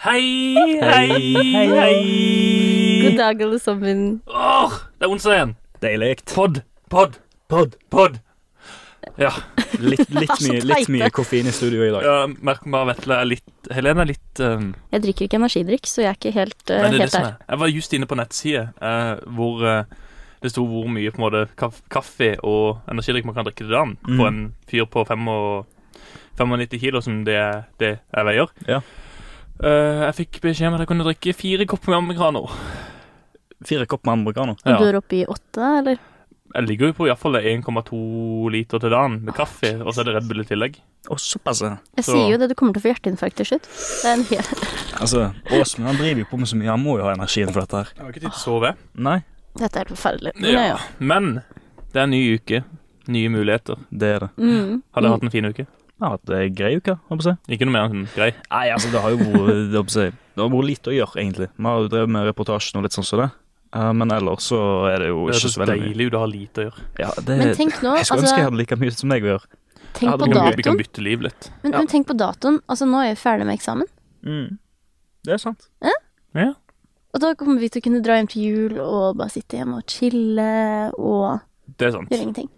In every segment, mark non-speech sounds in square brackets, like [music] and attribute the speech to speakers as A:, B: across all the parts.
A: Hei, hei, hei. [laughs]
B: God dag, alle sammen.
A: Åh, det er onsdag igjen.
C: Deilig.
A: Pod, pod, pod, pod. Ja,
C: Litt, [laughs] litt,
B: Så
C: mye, litt
B: teite.
C: mye koffein i studio i dag.
A: ja merk meg Vetle er litt Helene er litt um,
B: Jeg drikker ikke energidrikk, så jeg er ikke helt, eh,
A: Nei, det er det
B: helt
A: som
B: der.
A: er. Jeg var just inne på nettside eh, hvor eh, det sto hvor mye på en måte kaff, kaffe og energidrikk man kan drikke til dagen
C: Mm.
A: på en fyr på fem og- 95 kilo, som det, er- det jeg veier.
C: Ja.
A: Eh, jeg fikk beskjed om at jeg kunne drikke fire kopper med americano.
C: Fire kopp med americano.
B: Og du er oppe i åtte, eller?
A: Jeg ligger jo på iallfall 1,2 liter til dagen med kaffe, og så er det Red Bull i tillegg.
C: Å, såpass. ja.
B: Jeg
A: Så-
B: sier jo det, du kommer til å få hjerteinfarkt til slutt. Det er en hel... [laughs]
C: Altså, Åsmund han driver jo på med så mye. Han må jo ha energien for dette her.
A: Jeg har ikke tid til å sove.
C: Nei,
B: Dette er helt forferdelig. Men
A: Ja.
B: ja, ja.
A: Men det er en ny uke. Nye muligheter.
C: det er det.
B: Mm.
A: Har dere hatt en fin uke?
C: Jeg har hatt ei grei uke, håper jeg.
A: Ikke noe mer enn grei.
C: Nei, altså, det har jo vært, det håper jeg, det har vært lite å gjøre, egentlig. Vi har jo drevet med reportasjen og litt sånn som det. Eh, Men ellers så er det jo
A: Det
C: ikke
A: er
C: så
A: så
C: veldig mye.
A: deilig ut å ha lite å gjøre.
C: Ja, det,
B: Men tenk nå,
C: jeg skulle ønske jeg
B: altså,
C: hadde like mye som deg å gjøre.
B: tenk
C: hadde
B: på
A: Vi kan, vi kan
B: datoen.
A: bytte liv litt.
B: Men, men tenk på datoen. Altså, nå er vi ferdig med eksamen.
C: Mm. Det er sant.
A: Ja.
B: Og da kommer vi til å kunne dra hjem til jul og bare sitte hjemme og chille og
A: Det er sant.
B: gjøre ingenting.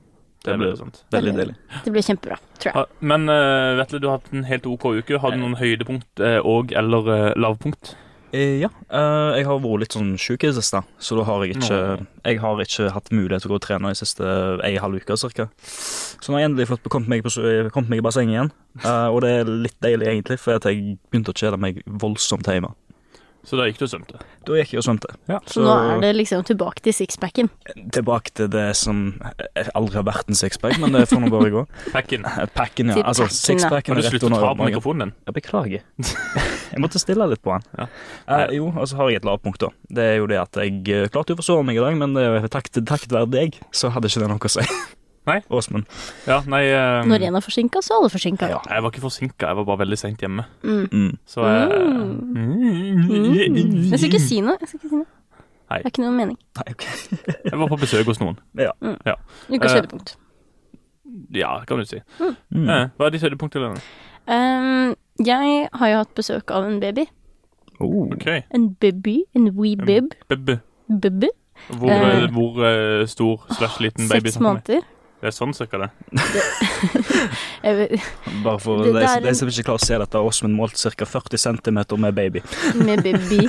A: Det blir sant.
C: Veldig deilig.
B: Det blir kjempebra, tror jeg.
A: Ha, men eh, Vetle, du har hatt en helt OK uke. Har du noen høydepunkt eh, og- eller eh, lavpunkt?
C: Eh, ja. eh, jeg har vært litt sånn sjuk i det siste, så da har jeg ikke Jeg har ikke hatt mulighet til å gå og trene i siste ei halv uke ca. Så nå har jeg endelig fått kommet meg, på s- kommet meg i bassenget igjen. eh, og det er litt deilig, egentlig, for at jeg begynte å kjede meg voldsomt hjemme.
A: Så da gikk du og svømte.
C: Da gikk jeg og svømte.
A: Ja.
B: Så nå
A: Altså-
B: er det liksom tilbake til sixpacken.
C: tilbake til det som eh, aldri har vært en sixpack, men det får nå bare
B: [laughs]
C: gå.
A: Pack in.
C: Eh, Packen, ja.
B: Til
C: Altså,
B: packen, ja.
C: sixpacken
A: Kan du
C: er rett
A: slutte å ta
C: under
A: på
C: magen.
A: mikrofonen din?
C: Jeg beklager. Jeg måtte stille litt på han.
A: Ja.
C: Eh, jo, og så har jeg et lavpunkt, da. Det er jo det at jeg eh, klarte jo å forsove meg i dag, men det er jo takket takket være deg, så hadde ikke det noe å si.
A: Nei.
C: Åsmund.
A: Ja, nei eh,
B: Når én er forsinka, så er alle forsinka.
C: Ja.
A: Jeg var ikke forsinka, jeg var bare veldig seint hjemme.
C: Mm.
A: Så jeg
B: Mm.
A: [laughs]
B: Jeg skal ikke si noe. Jeg skal ikke si noe.
A: Nei.
B: Det er ikke noe mening.
C: Nei, ok.
A: Jeg var på besøk hos noen.
C: Ja.
B: Ukas
A: Eh.
B: høydepunkt.
A: Ja, kan du si.
C: Mm.
A: Eh, hva er ditt høydepunkt, Helene?
B: Um, jeg har jo hatt besøk av en baby.
C: Oh.
A: Ok,
B: En baby. En wee bib.
A: Bebbe.
B: Baby.
A: Hvor,
B: Eh,
A: eh, hvor eh, stor slash liten baby
B: Seks
A: snakker vi?
B: måneder.
A: Det er sånn cirka det.
B: Jeg vet- [laughs]
C: Bare for
B: Det
C: de,
B: der-
C: de som ikke klarer å se dette, har Åsmund målt ca. 40 cm med baby.
B: Med baby.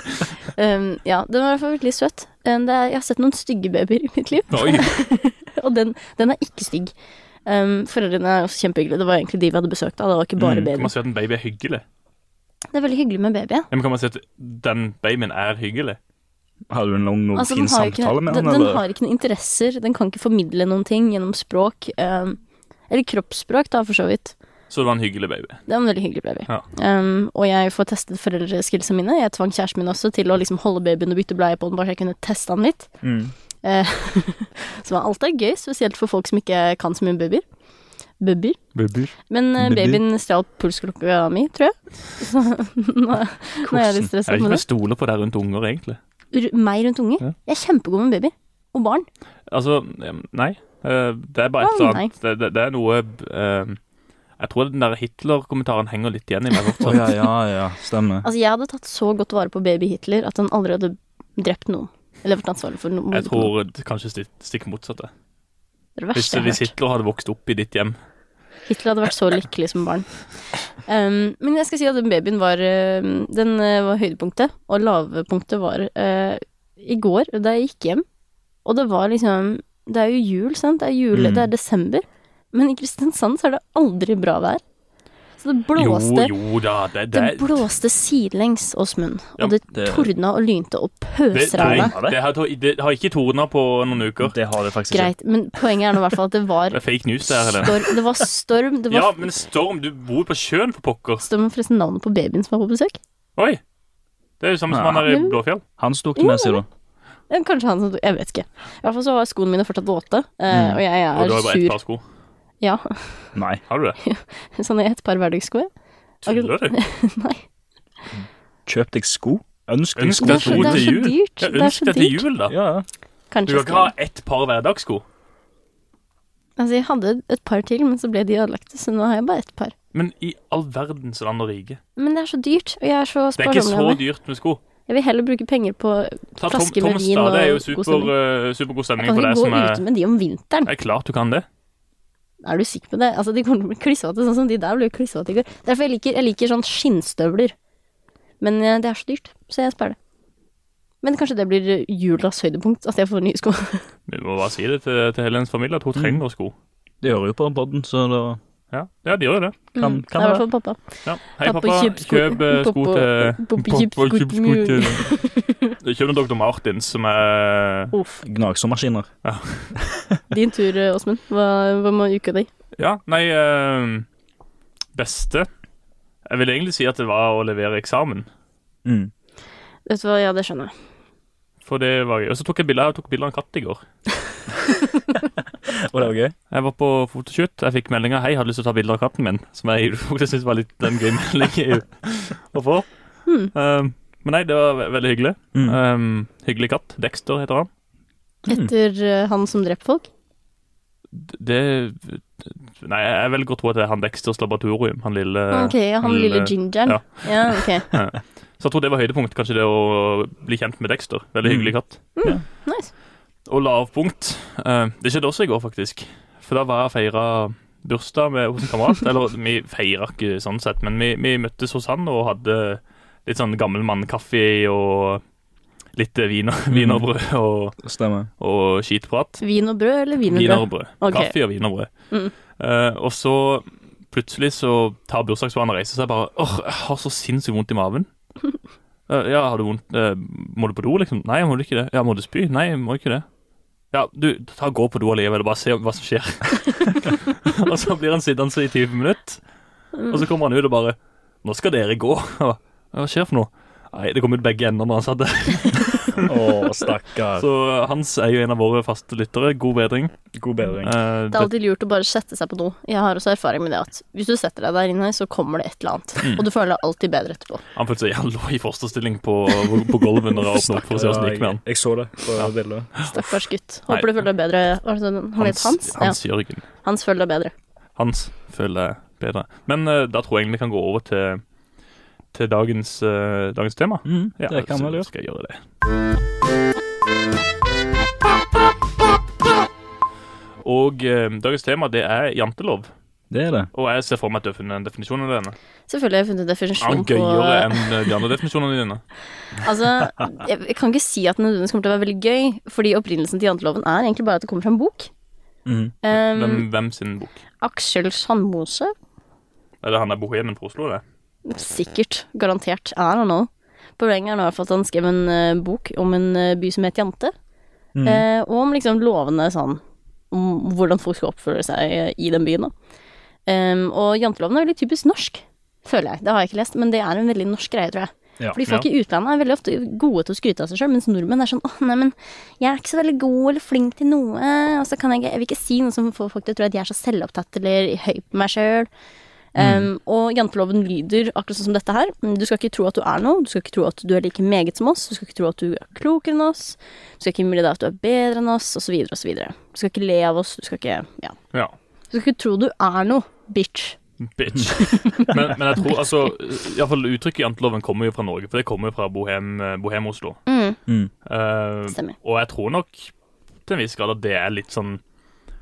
B: Um, ja, den var i hvert fall veldig søt. Um, det er, jeg har sett noen stygge babyer i mitt liv, [laughs]
A: Oi,
B: og den, den er ikke stygg. Um, foreldrene er også kjempehyggelige. Det var egentlig de vi hadde besøk av. Det var ikke
C: Mm,
B: bare
A: Kan
B: baby.
A: man si at en baby er hyggelig?
B: Det er veldig hyggelig med baby. ja.
A: Ja, men kan man si at den babyen er hyggelig?
C: Har du noen, noen
B: Altså, den
C: fin
B: har jo ikke-
C: samtale med
B: den,
C: han,
B: den
C: eller?
B: har ikke noen interesser. Den kan ikke formidle noen ting gjennom språk. Um, eller kroppsspråk, da, for så vidt.
A: Så det var en hyggelig baby.
B: Det var en veldig hyggelig baby.
A: Ja.
B: Um, og jeg får testet foreldreskillsene mine. Jeg tvang kjæresten min også til å liksom holde babyen og bytte bleie på den, bare så jeg kunne teste den litt.
C: Mm.
B: Eh, Så alt er gøy, spesielt for folk som ikke kan så mye om babyer. Babyer.
A: Babyer.
B: Men eh,
C: Babyer.
B: babyen stjal pulsklokka mi, tror jeg. [laughs] Så nå, nå Sånn er
A: Jeg
B: jeg litt
A: vet
B: stresset
A: ikke om
B: med
A: jeg
B: det.
A: stoler på det rundt unger, egentlig.
B: R- Meg rundt unger?
A: Ja.
B: Jeg er kjempegod med babyer. Og barn.
A: Altså, eh, nei. Eh, Det er bare et
B: Å,
A: eller
B: nei.
A: annet det, det, det er noe eh, Jeg tror den der Hitler-kommentaren henger litt igjen i meg
C: Å
A: fortsatt.
C: ja, ja, ja, stemmer.
B: Altså, jeg hadde tatt så godt vare på baby Hitler at han aldri hadde drept noen. Eller vært ansvarlig for noe.
A: Jeg tror det kanskje stikk, stikk motsatte.
B: det er det
A: Hvis,
B: verste jeg har
A: hvis
B: hørt.
A: Hitler hadde vokst opp i ditt hjem
B: Hitler hadde vært så lykkelig som barn. Um, men jeg skal si at den babyen var um, Den uh, var høydepunktet, og lavpunktet var uh, i går, da jeg gikk hjem. Og det var liksom Det er jo jul, sant? Det er, jule,
C: Mm.
B: det er desember. Men i Kristiansand så er det aldri bra vær. Så det
A: Jo,
B: blåste
A: jo da, det, det,
B: Det blåste sidelengs, Åsmund.
A: Ja,
B: Og det
C: det-
B: tordna og lynte og
A: det,
B: pøsregna.
A: nei, det, har, det har ikke torna på noen uker.
C: Det har det faktisk ikke.
B: Greit, men poenget er nå i hvert fall at det var
A: [laughs] Det er fake news, det her. Helene.
B: storm. Det var storm. Det var
A: Ja, men Storm, du bor på sjøen, for pokker.
B: storm forresten navnet på babyen som var på besøk.
A: Oi! Det er jo samme som
C: Ja.
A: han her i Blåfjell.
C: Han sto ikke med seg, da.
B: Ja, Eh, Kanskje han som Jeg vet ikke. I hvert fall så var skoene mine fortsatt våte,
C: Mm.
B: eh, og jeg
A: Og du har
B: er
A: jo bare ett
B: sur.
A: par sko.
B: Ja, [laughs]
C: Nei.
A: Har du det?
B: sånn er et par hverdagssko.
A: Tuller du?
B: [laughs] Nei.
C: Kjøp deg sko. Ønsk deg
A: Ønsk
C: sko.
B: Det
A: deg
B: er så-
A: sko
B: det er
A: til
B: så
A: jul.
B: dyrt.
A: Ja,
B: Det er
A: ønsk
B: så
A: deg til
B: dyrt.
A: jul, da.
C: Ja, ja.
A: Du
B: Kanskje
A: kan
B: jeg
A: ikke ha
B: skal
A: ett par hverdagssko.
B: Altså, jeg hadde et par til, men så ble de ødelagte, så nå har jeg bare ett par.
A: Men i all verdens land og rike.
B: Men det er så dyrt, og jeg er så
A: Det er ikke så
B: sparsommelig.
A: dyrt med sko.
B: Jeg vil heller bruke penger på
A: Ta Tom,
B: Flasker med vin
A: Tomstad, det er jo
B: og god
A: super,
B: stemning.
A: eh, supergod
B: Jeg
A: stemning
B: kan
A: for deg
B: ikke gå
A: som er
B: ute med de om vinteren.
A: Det er klart du kan det.
B: Er du sikker på det? Altså, De kommer til å bli klissvåte, sånn som de der ble jo klissvåte i går. Derfor jeg liker jeg liker sånn skinnstøvler. Men eh, det er så dyrt, så jeg sparer det. Men kanskje det blir eh, julas høydepunkt, at jeg får nye sko.
A: Vi må bare si det til, til Helens familie at hun trenger sko.
C: Det gjør jeg jo på den podden, så da
A: Ja, ja de gjør jo det.
C: kan,
B: Mm, Det
C: kan
B: er i
C: det
B: hvert
C: være.
B: fall pappa.
A: Ja. Hei,
B: Pappa,
A: pappa.
B: kjøp sko-
A: Kjøp eh, sko
B: Pappa-
A: til
B: pappa, kjøp sko til
A: [laughs] Kjøp noen Dr. Martins som er eh,
B: Uff.
C: Gnagsårmaskiner.
B: Din tur, eh, Åsmund. Hva, hva med uka di?
A: Ja, nei eh, Beste Jeg vil egentlig si at det var å levere eksamen.
C: Mm.
B: Vet du hva, ja, det skjønner jeg.
A: For det var gøy. Og så tok jeg bilder jeg tok bilder av en katt i går.
C: Og det var gøy.
A: Jeg var på fotoshoot. Jeg fikk meldinga 'Hei, jeg hadde lyst til å ta bilder av katten min'. Som jeg [laughs] faktisk syntes var litt en gøy melding å få.
B: Hmm.
A: Um, men nei, det var ve veldig hyggelig.
C: Mm.
A: Um, hyggelig katt. Dexter heter han.
C: Mm.
B: Etter eh, han som drepte folk?
A: D- Det Nei, jeg vil godt tro at det er han Dexters laboratorium, han lille
B: Ah, Ok,
A: Eh,
B: ja, han
A: han
B: lille
A: lille-
B: gingeren.
A: ja.
B: Ja, ok.
A: Så jeg tror det var høydepunkt, kanskje det å bli kjent med Dexter. Veldig
C: Mm.
A: hyggelig katt.
B: Nice.
A: Og lavpunkt eh, Det skjedde også i går, faktisk. For da var jeg og feira bursdag med, hos en [laughs] kamerat. Eller vi feira ikke sånn sett, men vi, vi møttes hos han og hadde litt sånn gammelmannkaffe og litt vin [laughs] og, vin og brød og,
C: Stemmer.
A: og skitprat.
B: Vin og brød eller vin og brød?
A: Wienerbrød.
B: Ok.
A: Kaffe og wienerbrød.
B: Mm.
A: Eh, og så plutselig så tar bursdagsbarnet og reiser seg bare Åh, jeg har så sinnssykt vondt i
B: [laughs]
A: maven. Eh, ja, har du vondt eh, Må du på do, liksom? Nei, jeg må ikke det. Ja, må du spy? Nei, jeg må ikke det. Ja, du, ta gå på do allikevel og bare se hva som skjer. [laughs] og så blir han sittende i 20 minutter, og så kommer han ut og bare Nå skal dere gå. [laughs] Jeg bare, Hva skjer for noe? Nei, det kom ut begge ender når han satt der.
C: Å, stakkar.
A: Så eh, Hans er jo en av våre faste lyttere. God bedring.
C: God bedring.
A: Eh,
B: Det er alltid lurt å bare sette seg på do. Jeg har også erfaring med det at hvis du setter deg der inne, så kommer det et eller annet. Og du føler deg alltid bedre etterpå.
A: Han følte seg han lå i fosterstilling på, på gulvet når jeg åpna opp for å se hvordan det gikk med han.
C: Jeg så det på bildet.
B: Stakkars gutt.
A: Nei.
B: Håper du føler deg bedre. Hva er det sånn- Han het Hans?
A: Hans Jørgen.
B: Ja, Hans føler deg bedre.
A: Hans føler jeg bedre. Men eh, da tror jeg egentlig vi kan gå over til, til dagens, eh, dagens tema.
C: Mm,
A: Ja,
C: det kan
A: så
C: vel gjøre.
A: Skal jeg gjøre det. Og eh, dagens tema det er jantelov.
C: Det er det.
A: Og jeg ser for meg at du har funnet en definisjon av denne.
B: Selvfølgelig har jeg funnet
A: Er
B: definisjon
A: den gøyere enn eh, de andre definisjonene dine?
B: Altså, jeg kan ikke si at den nødvendigvis kommer til å være veldig gøy, fordi opprinnelsen til janteloven er egentlig bare at det kommer fra en bok.
C: Mm.
B: [laughs] Um,
A: Hvem, hvem sin bok?
B: Aksel Sandmose
A: Er det han der bohemen fra Oslo, det?
B: Sikkert. Garantert. I don't know. Poenget er nå i hvert fall at han skrev en eh, bok om en eh, by som het Jante.
C: Mhm.
B: Eh, og om liksom lovene sånn Om hvordan folk skal oppføre seg eh, i den byen, da. Em, og janteloven er veldig typisk norsk, føler jeg. Det har jeg ikke lest, men det er en veldig norsk greie, tror jeg.
C: Ja.
B: Fordi folk i utlandet er veldig ofte gode til å skryte av seg sjøl, mens nordmenn er sånn åh, nei, men jeg er ikke så veldig god eller flink til noe, og så kan jeg ikke Jeg vil ikke si noe som får folk til å tro at jeg er så selvopptatt eller høy på meg sjøl. Um, og janteloven lyder akkurat sånn som dette her. Du skal ikke tro at du er noe, du skal ikke tro at du er like meget som oss, du skal ikke tro at du er klokere enn oss, du skal ikke innbille deg at du er bedre enn oss, osv., osv. Du skal ikke le av oss, du skal ikke Ja.
A: Ja.
B: Du skal ikke tro du er noe, bitch.
A: [laughs] Bitch. men, men jeg tror altså i hvert fall Uttrykket janteloven kommer jo fra Norge, for det kommer jo fra Bohem, Bohem-Oslo.
B: Mm,
C: Mm.
A: Eh,
B: stemmer.
A: og jeg tror nok til en viss grad at det er litt sånn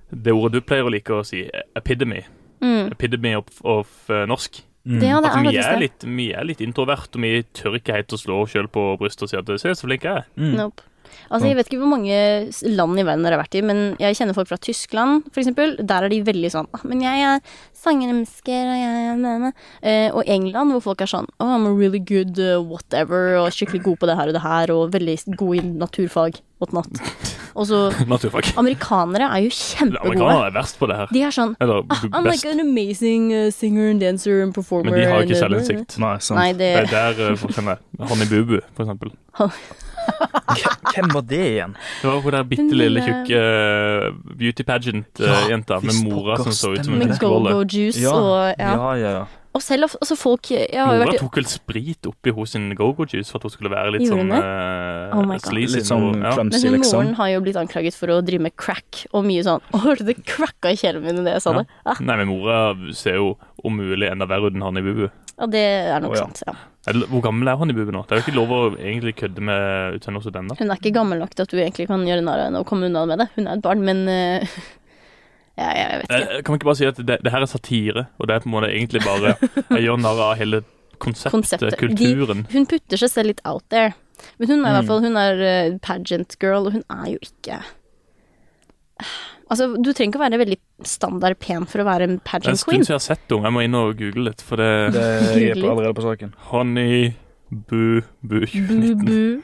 A: Det ordet du pleier å like å si, epidemy.
B: Mm.
A: Epidemy of, of eh, norsk.
B: Det, ja, det
A: At vi
B: er
A: er,
B: faktisk det.
A: litt, vi er litt introvert, og vi tør ikke helt å slå oss sjøl på brystet og si at 'se, så flink jeg er'.
C: Mm.
B: Nope. Altså, jeg vet ikke hvor mange s- land i verden dere har vært i, men jeg kjenner folk fra Tyskland, for eksempel. Der er de veldig sånn ah, 'Men jeg er sangeremsker, og jeg er denne.' Eh, og England, hvor folk er sånn oh, 'I'm a really good uh, whatever', og skikkelig god på det her og det her, og veldig s- god i naturfag, whatnot.
A: [laughs]
B: Og så
A: Naturfag.
B: Amerikanere er jo kjempegode.
A: Amerikanerne er verst på det her.
B: De er sånn
A: Eller
B: ah, 'I'm like
A: best.
B: an amazing uh, singer and dancer and performer'.
A: Men de har jo
B: and,
A: ikke
B: uh,
A: selvinnsikt.
C: Nei, sant.
B: Nei,
A: Det
B: det
A: er der eh, forskjellen er. Honey Boo Boo, for eksempel.
C: Hvem var det igjen?
A: Det var hun der bitte
B: Den
A: lille
B: lille-
A: tjukke eh, beauty pageant-jenta
C: Ja,
A: med
C: visst
A: mora som
C: pokker,
A: så ut som
C: stemmer
A: en
B: med
C: det.
A: fiskebolle.
B: go-go juice og ja.
C: ja, ja.
B: Og selv of- altså folk Jeg har jo
A: Nora
B: vært i
A: tok vel sprit oppi hos sin go-go-juice for at hun skulle være litt
B: Gjorde
A: sånn
B: hun det?
A: eh,
B: Oh my God.
A: sleazy.
C: Litt sånn
A: og- ja.
C: clumsy,
B: Men hun moren
C: liksom.
B: har jo blitt anklaget for å drive med crack og mye sånn Å, hørte du det cracka i kjelen min da jeg sa
A: Ja.
B: det? Ja,
A: Nei, men mora ser jo om mulig enda verre ut enn han i Bubu.
B: ja, det er nok
C: Å, ja.
B: sant. Ja.
A: Eller, Hvor gammel er han i Bubu nå? Det er jo ikke lov å egentlig kødde med utseendet hos den, da.
B: Hun er ikke gammel nok til at du egentlig kan gjøre narr av henne og komme unna med det. Hun er et barn, men eh, [laughs] ja, jeg vet ikke.
A: Eh, Kan vi ikke bare si at det, det her er satire, og det er på en måte egentlig bare Jeg gjør narr av hele konseptet,
B: Konseptet.
A: kulturen.
B: Hun putter seg selv litt out there. Men hun er i
C: Eh. Mm.
B: hvert fall Hun er eh, pageant girl, og hun er jo ikke [sighs] Altså, du trenger ikke å være veldig standard pen for å være en
A: Det er en
B: pageant
A: stund
B: queen.
A: siden jeg har sett henne. Jeg må inn og google litt, for det
C: Det
B: [laughs]
C: jeg er på- allerede på saken.
A: Honey Bu Bu 2019.
B: Bu-bu.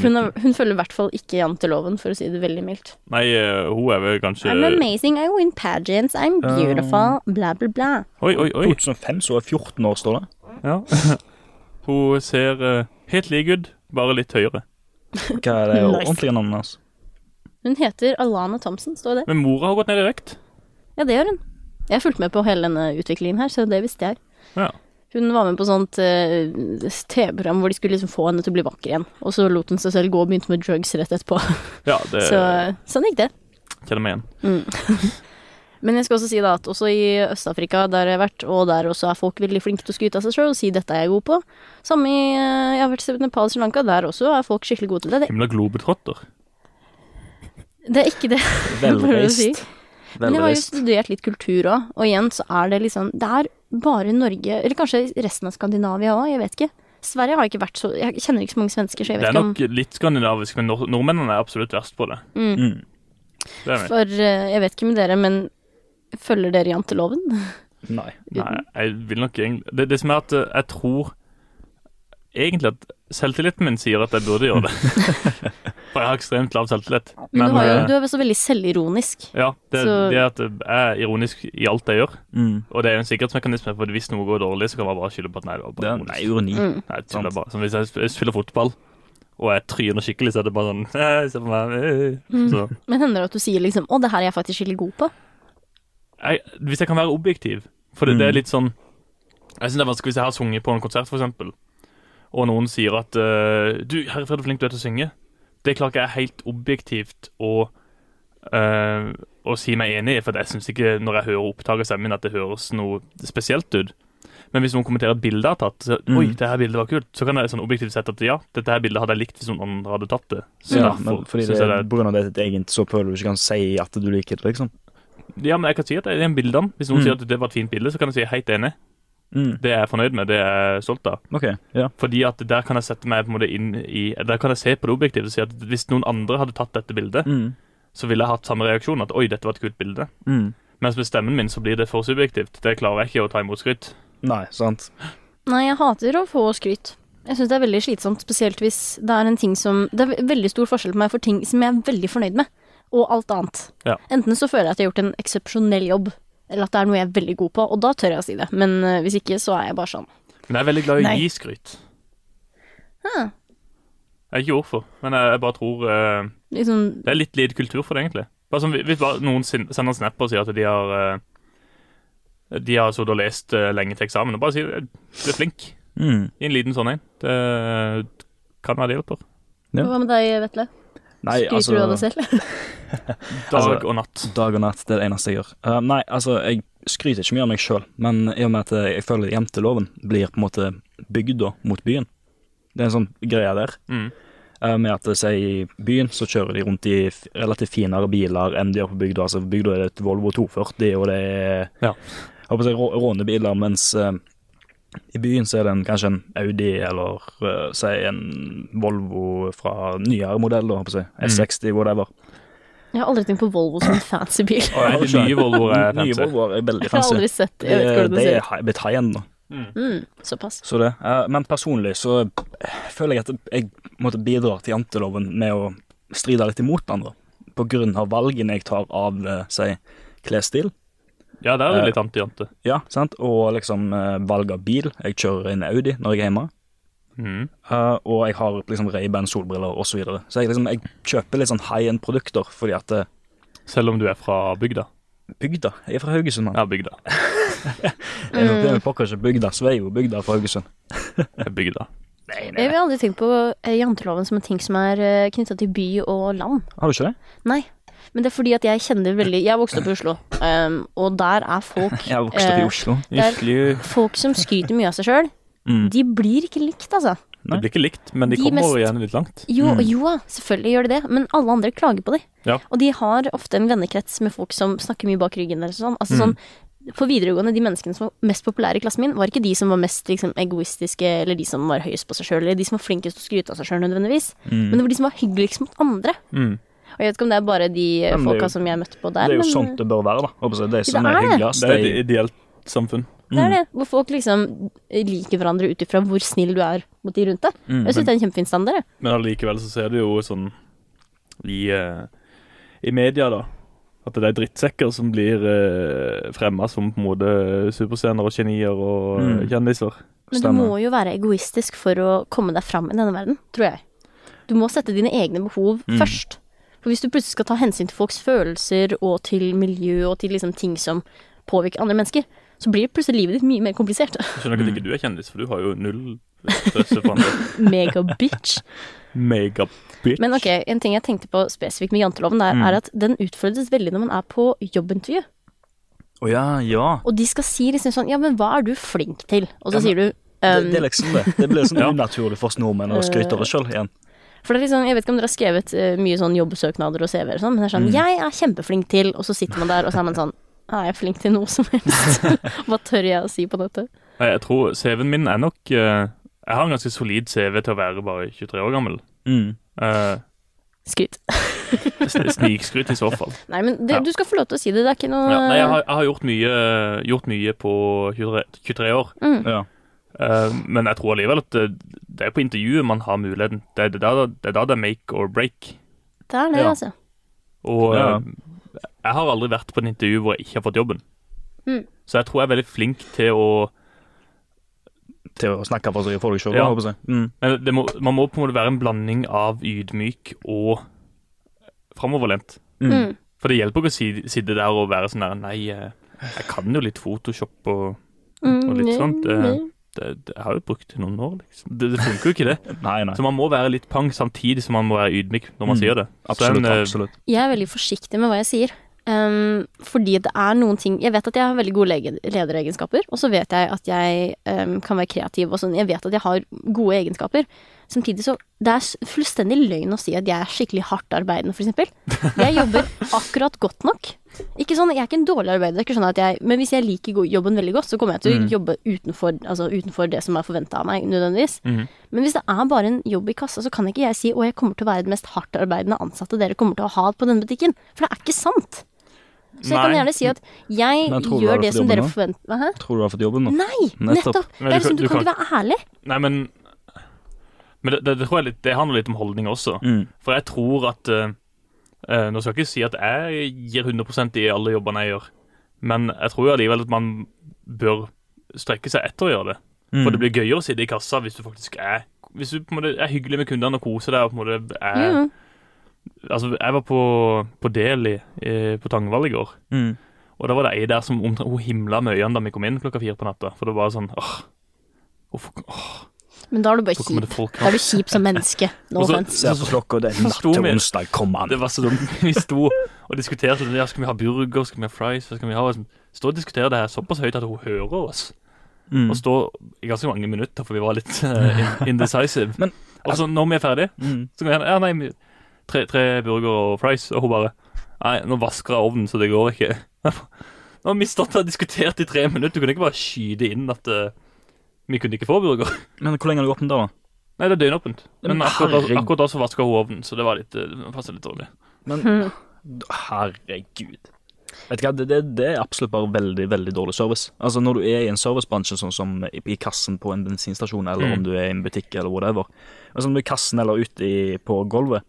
B: Hun, er- hun følger i hvert fall ikke janteloven, for å si det veldig mildt.
A: Nei, eh, hun er vel kanskje
B: I'm amazing, I win pageants, I'm beautiful, bla, bla, bla.
A: Oi, oi, oi.
C: 2005, så er 14 år,
B: [laughs]
C: står det.
A: Ja. [laughs] Hun ser eh, helt lik ut, bare litt høyere.
C: Hva er det
B: Nice.
C: ordentlige navnet hans?
B: Hun heter Alana Thompson, står det.
A: Men mora har gått ned i vekt.
B: Ja, det gjør hun. Jeg har fulgt med på hele denne utviklingen her, så det visste jeg.
A: Ja.
B: Hun var med på sånt eh, TV-program hvor de skulle liksom få henne til å bli vakker igjen. Og så lot hun seg selv gå og begynte med drugs rett etterpå.
A: ja, det
B: [laughs] Så sånn gikk det.
A: kjenner meg igjen.
B: Men jeg skal også si da at også i Øst-Afrika, der jeg har vært, og der også er folk veldig flinke til å skryte av seg sjøl og si 'dette er jeg god på'. Samme i eh, Jeg har vært i Nepal og Sri Lanka, der også er folk skikkelig gode til det.
A: Himla globetrotter.
B: Det, det er ikke det [laughs] jeg prøver å si.
C: Velreist.
B: Men jeg har jo
C: Velreist.
B: studert litt kultur òg, og igjen så er det liksom Det er bare Norge, eller kanskje resten av Skandinavia òg, jeg vet ikke. Sverige har jeg ikke vært så Jeg kjenner ikke så mange svensker, så jeg
A: Det
B: vet
A: er
B: ikke om
A: nok litt skandinavisk, men nor nordmennene er absolutt verst på det.
C: Mm.
A: Det er vi.
B: For eh, jeg vet ikke med dere, men følger dere janteloven? [laughs]
C: Nei.
A: Nei, jeg vil nok egentlig det, det som er at eh, jeg tror egentlig at selvtilliten min sier at jeg burde
B: [laughs]
A: gjøre det. For jeg har ekstremt lav selvtillit.
B: Men, du, har jo,
A: eh,
B: du er vel så veldig selvironisk.
A: ja, det,
B: så-
A: det at jeg er ironisk i alt jeg gjør,
C: Mm.
A: og det er jo en sikkerhetsmekanisme, for hvis noe går dårlig, så kan man bare skylde på at nei, det var
C: Det
A: bare
C: er nei,
A: ironisk.
C: ironi.
B: Mm.
A: Nei, jeg tuller bare. Som hvis jeg sp- spiller fotball, og jeg tryner skikkelig, så er det bare sånn [laughs] «Eh, Se på meg. eh». Så,
B: Men hender det at du sier liksom 'Å, det her er jeg faktisk skikkelig god på'?
A: jeg, hvis jeg kan være objektiv, for det, det er
C: Mm.
A: litt sånn Jeg synes det er vanskelig hvis jeg har sunget på en konsert, for eksempel, og noen sier at eh, 'Du, herre Fred, hvor flink du er til å synge'. Det klarer ikke jeg helt objektivt å eh, å si meg enig i, for jeg syns ikke når jeg hører opptak av stemmen min, at det høres noe spesielt ut. Men hvis noen kommenterer et bilde jeg har tatt, så,
C: Mm.
A: oi, det her bildet var kult, så kan jeg sånn objektivt sett at ja, dette her bildet hadde jeg likt hvis noen andre hadde tatt det. Så
C: Ja,
A: derfor
C: men fordi
A: synes
C: det,
A: jeg det er
C: på grunn av det er ditt eget, så føler du ikke kan si at du liker det, liksom.
A: Ja, men jeg kan si at det er en bildene. Hvis noen
C: Mm.
A: sier at det var et fint bilde, så kan jeg si helt enig.
C: Mm.
A: Det er jeg fornøyd med, det er jeg stolt av.
C: OK. Ja.
A: Fordi at der kan jeg sette meg på en måte inn i Der kan jeg se på det objektivt og si at hvis noen andre hadde tatt dette bildet,
C: Mm.
A: så ville jeg hatt samme reaksjon, at oi, dette var et kult bilde.
C: Mm.
A: Mens med stemmen min så blir det for subjektivt. Det klarer jeg ikke å ta imot skryt.
C: Nei, sant.
B: Nei, jeg hater å få skryt. Jeg syns det er veldig slitsomt, spesielt hvis det er en ting som Det er ve- veldig stor forskjell på meg for ting som jeg er veldig fornøyd med, og alt annet.
A: Ja.
B: Enten så føler jeg at jeg har gjort en eksepsjonell jobb, eller at det er noe jeg er veldig god på, og da tør jeg å si det. Men eh, hvis ikke, så er jeg bare sånn.
A: Men jeg er veldig glad i å
B: Nei.
A: gi skryt.
B: Hæ.
A: Jeg vet ikke hvorfor, men jeg, jeg bare tror eh,
B: Liksom
A: Det er litt lite kultur for det, egentlig. Bare som Hvis bare noen sin- sender en snap og sier at de har eh, De har sittet og lest eh, lenge til eksamen, og bare sier eh, du er flink.
C: Mm.
A: I en liten sånn en. Det eh, kan være det hjelper.
C: Ja.
B: Hva med deg, Vetle?
C: Nei,
B: Skryter du av deg selv? [laughs]
A: Dag
C: Altså-
A: og natt.
C: Dag og natt, det er det eneste jeg gjør. Eh, nei, altså, jeg skryter ikke mye av meg sjøl, men i og med at jeg følger jenteloven, blir på en måte bygda mot byen. Det er en sånn greie der.
A: Mm.
C: eh, med at si, i byen så kjører de rundt i f- relativt finere biler enn de gjør på bygda. Altså, på bygda er det et Volvo 240, og det er
A: Ja.
C: jeg håper å si, rå- rånebiler, mens eh, i byen så er det en, kanskje en Audi eller eh, si en Volvo fra nyere modell, da, håper jeg
A: Mm.
C: å si. S60, whatever.
B: Jeg har aldri tenkt på Volvo som en fancy bil.
A: Og er de nye Volvoer er
C: [laughs] Nye
A: fancy.
C: Volvoer er veldig
B: Jeg har
C: fancy.
B: aldri sett
C: Det,
B: Jeg vet ikke hvordan
C: det
B: det ser
C: er hi- blitt high end nå.
B: ut. Mm, såpass.
C: Så det. eh, Men personlig så eh, føler jeg at jeg måtte bidra til janteloven med å stride litt imot den, da. På grunn av valgene jeg tar av eh, si, klesstil.
A: Ja, der er det litt anti-jante.
C: Ja, sant? Og liksom eh, valg av bil. Jeg kjører en Audi når jeg er hjemme.
A: Mm.
C: eh, og jeg har liksom Ray-Ban solbriller osv. Så, videre. så jeg, liksom, jeg kjøper litt sånn high end produkter fordi at eh,
A: Selv om du er fra bygda.
C: bygda. Jeg er fra Haugesund,
B: Mm.
C: mann.
A: Ja, bygda.
C: Det er noe problem med pokker ikke bygda, så er jeg jo bygda fra Haugesund.
A: Jeg er Eh, Bygda.
C: Nei, nei,
B: Jeg har aldri tenkt på eh, janteloven som en ting som er knytta til by og land.
C: Har du ikke det?
B: Nei. Men det er fordi at jeg kjenner veldig Jeg vokste opp i Oslo, um, og der er folk
C: Jeg har vokst opp
B: eh,
C: i Oslo.
B: [laughs] Der-
A: Ytterligere-
B: Folk som skryter mye av seg sjøl,
C: Mm.
B: de blir ikke likt, altså.
A: Det blir ikke likt, men de,
B: De
A: kommer
B: mest-
A: igjen litt langt.
B: Jo,
C: Mm.
B: jo, selvfølgelig gjør de det, men alle andre klager på dem.
A: Ja.
B: Og de har ofte en vennekrets med folk som snakker mye bak ryggen deres og sånn. Altså
C: Mm.
B: sånn på videregående, de menneskene som var mest populære i klassen min, var ikke de som var mest liksom, egoistiske, eller de som var høyest på seg sjøl, eller de som var flinkest til å skryte av seg sjøl nødvendigvis.
C: Mm.
B: Men det var de som var hyggeligst mot andre.
A: Mm.
B: Og jeg vet ikke om det er bare de eh,
C: Ja, men det er
B: folka
C: jo-
B: som jeg møtte på
C: Det
B: der,
C: er jo
B: men
C: sånn det bør være, da. Håper jeg. De som
B: det
C: er
B: er det.
C: hyggeligst,
A: Det er et
C: de
A: ideelt samfunn.
B: det
C: Mm.
B: er det. Hvor folk liksom liker hverandre ut ifra hvor snill du er mot de rundt deg.
C: Mm,
B: Jeg syns det er en kjempefin standard, jeg.
A: Men allikevel så ser du jo sånn i, eh, i media, da. At det er drittsekker som blir uh, fremma som på en måte superstjerner og genier og eh,
C: Mm.
A: kjendiser.
B: Men
C: Stemmer.
B: du må jo være egoistisk for å komme deg fram i denne verden, tror jeg. Du må sette dine egne behov
C: Mm.
B: først. For hvis du plutselig skal ta hensyn til folks følelser og til miljø og til liksom ting som påvirker andre mennesker, så blir plutselig livet ditt mye mer komplisert. [laughs]
A: Jeg skjønner ikke at ikke du er kjendis, for du har jo null støtte fra [laughs] andre.
B: Mega bitch.
A: Megabitch.
B: Men ok, en ting jeg tenkte på spesifikt med janteloven, der,
C: Mm.
B: er at den utfordres veldig når man er på jobbintervju.
C: Å ja, ja.
B: Og de skal si liksom sånn Ja, men hva er du flink til? Og så
C: Ja, men-
B: sier du
C: Det,
B: ehm,
C: det er liksom det. Det blir
A: [laughs]
C: sånn
A: Ja.
C: unaturlig for oss nordmenn å skryte av oss sjøl igjen.
B: For det er liksom, Jeg vet ikke om dere har skrevet eh, mye sånn jobbsøknader og CV-er og sånn, men det er
A: Mm.
B: sånn 'Jeg er kjempeflink til', og så sitter man der, og så er man sånn 'Er jeg flink til noe som
A: [laughs]
B: helst?' Hva tør jeg å si på dette?
A: Nei, Jeg tror CV-en min er nok eh, Jeg har en ganske solid CV til å være bare 23 år gammel.
C: Mm.
A: Eh,
B: Skryt.
A: sn- Snikskryt i så fall.
B: Nei, men det,
A: Ja.
B: du skal få lov til å si det. Det er ikke noe
A: Ja, nei, jeg har, jeg har gjort, mye, gjort mye på 23, 23 år,
B: mm.
C: Ja.
A: Eh, men jeg tror allikevel at det, det er på intervjuet man har muligheten. Det er det er da det er, da det er make or break.
B: Det er det,
C: Ja.
B: altså.
A: Og
C: Ja.
A: eh, jeg har aldri vært på et intervju hvor jeg ikke har fått jobben.
B: Mm.
A: Så jeg tror jeg er veldig flink til å
C: Til å snakke for seg for deg sjøl,
A: Ja.
C: håper jeg. Mm.
A: men det må, Man må på en måte være en blanding av ydmyk og framoverlent.
C: Mm.
B: Mm.
A: For det hjelper ikke å si, sitte der og være sånn der Nei, eh, jeg kan jo litt Photoshop og
B: Mm,
A: Og litt sånt, eh,
B: mm.
A: det, det, Jeg har jo brukt det i noen år, liksom. Det, det funker jo ikke, det.
C: Nei, nei.
A: Så man må være litt pang samtidig som man må være ydmyk når man
C: Mm.
A: sier det. Så
C: Absolutt.
A: en, eh,
C: absolutt.
B: Jeg er veldig forsiktig med hva jeg sier. ehm, fordi det er noen ting Jeg vet at jeg har veldig gode lege, lederegenskaper, og så vet jeg at jeg ehm, kan være kreativ og sånn. Jeg vet at jeg har gode egenskaper. Samtidig så Det er s- fullstendig løgn å si at jeg er skikkelig hardtarbeidende, f.eks. Jeg jobber akkurat godt nok. Ikke sånn, Jeg er ikke en dårlig arbeider, det er ikke sånn at jeg, men hvis jeg liker go- jobben veldig godt, så kommer jeg til
A: Mm.
B: å jobbe utenfor, altså utenfor det som er forventa av meg, nødvendigvis.
A: Mhm.
B: Men hvis det er bare en jobb i kassa, så kan ikke jeg si å, jeg kommer til å være den mest hardtarbeidende ansatte dere kommer til å ha på denne butikken. For det er ikke sant. Så jeg kan
A: Nei.
B: gjerne si at jeg
C: Men jeg tror du har
B: gjør det
C: fått
B: som dere
C: jobben
B: forventer. Hæ?
C: Tror du har fått jobben nå?
B: Nei,
C: Nettopp.
B: nettopp.
A: Men
B: Det
A: du
B: er
A: kan-
B: liksom, du,
A: du
B: kan
A: kan-
B: ikke være ærlig.
A: Nei, men Men det, det, det tror jeg litt, det handler litt om holdning også.
C: Mm.
A: For jeg tror at eh, eh, Nå skal jeg ikke si at jeg gir 100 i alle jobbene jeg gjør, men jeg tror jo allikevel at man bør strekke seg etter å gjøre det.
C: Mm.
A: For det blir gøyere å sitte i kassa hvis du faktisk er Hvis du på en måte er hyggelig med kundene og koser deg og på en måte er
B: Jo, jo.
A: Altså, jeg var på, på Deli eh, på Tangvall i går,
C: Mm.
A: og da var det ei der som omtrent, hun himla med øynene da vi kom inn klokka fire på natta. For det var sånn åh, Hvorfor, åh,
B: Men da er du bare
A: hvorfor kommer det
B: kjip.
A: folk
B: Da er du kjip som menneske.
A: [laughs]
B: No
A: Og så-
B: offense.
C: Se på klokka, det er natt
A: Forsto
C: til
A: vi-
C: onsdag, kom an.
A: Det var så dumt. [laughs] Vi sto og diskuterte sånn, ja, skal vi ha burger, skal vi ha fries, hva skal vi ha Stå og diskutere det her såpass høyt at hun hører oss.
C: Mm.
A: Og stå i ganske mange minutter, for vi var litt eh, in- indecisive.
C: Men-
A: og så når vi er ferdig,
C: Mm.
A: så kan vi gjerne Ja, nei, vi- tre, tre burger og fries, og hun bare Nei, nå vasker jeg ovnen, så det går ikke. [laughs] Nå har vi stått og diskutert i tre minutter, du kunne ikke bare skyte inn at eh, vi kunne ikke få burger. [laughs]
C: Men hvor lenge har du åpnet da? da?
A: Nei, det er døgnåpent. Men
C: Men
A: akkurat, da-
C: herregud.
A: akkurat da så vaska hun ovnen, så det var litt, eh, det passet litt dårlig.
C: Men [laughs] herregud. Vet du hva, det, det, det er absolutt bare veldig veldig dårlig service. Altså Når du er i en servicebransje, sånn som i, i kassen på en bensinstasjon, eller
A: Mm.
C: om du er i en butikk eller whatever, altså når du er i kassen eller ute i, på gulvet,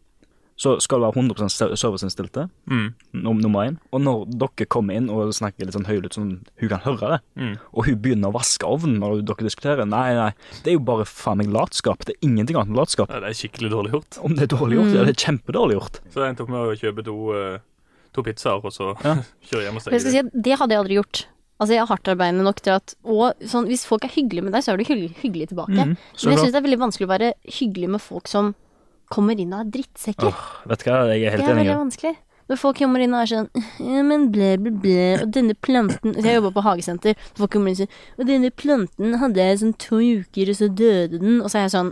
C: så skal det være 100 ser- serviceinnstilte,
A: Mm.
C: num- nummer én. Og når dere kommer inn og snakker litt sånn høylytt, sånn hun kan høre det,
A: Mm.
C: og hun begynner å vaske ovnen når dere diskuterer Nei, nei, det er jo bare faen meg latskap. Det er ingenting annet enn latskap.
A: Ja, det er skikkelig dårlig gjort.
C: Om det er dårlig gjort, ja, det er kjempedårlig gjort.
A: Så jeg endte opp med å kjøpe to eh, to pizzaer og så [laughs]
C: Ja.
A: kjøre hjem og
B: For jeg
A: steke.
B: skal si at det hadde jeg aldri gjort. Altså, jeg er hardtarbeidende nok til at Og sånn, hvis folk er hyggelige med deg, så er du hyggelig, hyggelig tilbake.
C: Mhm, så
B: Men jeg
C: bra.
B: syns det er veldig vanskelig å være hyggelig med folk som kommer inn og er drittsekker.
C: Åh, vet du hva, jeg er
B: det
C: helt
B: er
C: enig.
B: veldig
C: i det.
B: vanskelig. Når folk kommer inn og er sånn «Ja, men ble, ble, ble, og denne planten Så Jeg jobber på hagesenter. Så folk kommer inn og sier Og denne planten hadde jeg i sånn to uker, og så døde den. Og så er jeg sånn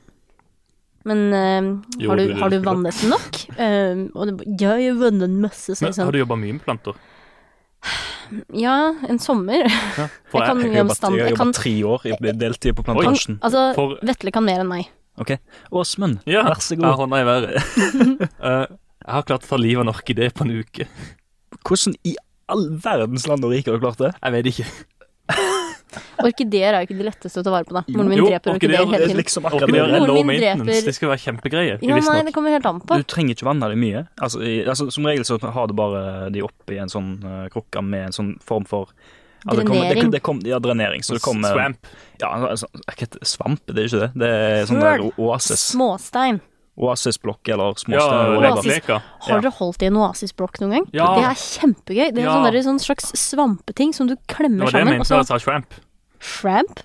B: Men eh,
A: Jo,
B: har,
A: du-
B: du, har du vannet den nok? Eh, og det, ba- ja, jeg vannet den masse. Så jeg
A: Men
B: sånn
A: har du jobba mye med planter?
B: Ja, en sommer.
A: Ja. For jeg,
B: Jeg kan-
C: Jeg har
B: om
C: jobbet-
B: stand-
C: jeg har
B: jeg kan-
C: jobbet tre år i deltid på plantasjen.
B: Altså,
A: For-
B: Vetle kan mer enn meg.
C: Ok, Åsmund,
A: ja,
C: vær så
A: Jeg har
C: god.
A: hånda i
C: [laughs]
A: været. Eh, jeg har klart å ta livet av en orkidé på en uke.
C: Hvordan i all verdens land og rike har du klart det?
A: Jeg vet ikke.
B: Orkideer er jo ikke det letteste å ta vare på, da. Moren min
A: Jo,
B: dreper
A: orkideer
B: orkideer hele
C: Det er
B: tiden.
C: liksom akkurat
A: Orkideer er
C: det.
B: Moren
A: low
B: min
A: maintenance.
B: dreper-
A: Det skal være kjempegreier.
B: Ja, nei,
A: visstnok.
B: det kommer helt an på.
C: Du trenger ikke vanne dem mye. Altså, i, altså, som regel så har du bare de oppi en sånn eh, krukke med en sånn form for altså, det kommer-
B: Drenering.
C: Det, det kom, ja, drenering. Så det kommer
A: Swamp.
C: Ja, altså, hva heter det? svamp, det er ikke det. Det er sånn
B: Høl.
C: der o- oasis.
B: Småstein.
C: Oasisblokk
A: Ja,
C: eller småstein.
B: Oasis.
C: whatever.
A: lekeleka.
B: Har dere holdt i en oasisblokk noen gang?
A: Ja.
B: Det er kjempegøy. Det er
A: Ja.
B: sånn der- sånn slags svampeting som du
A: Det
B: klemmer
A: var det jeg
B: sammen. Og
A: mente altså. da
B: så
A: jeg sa swamp.
B: shramp.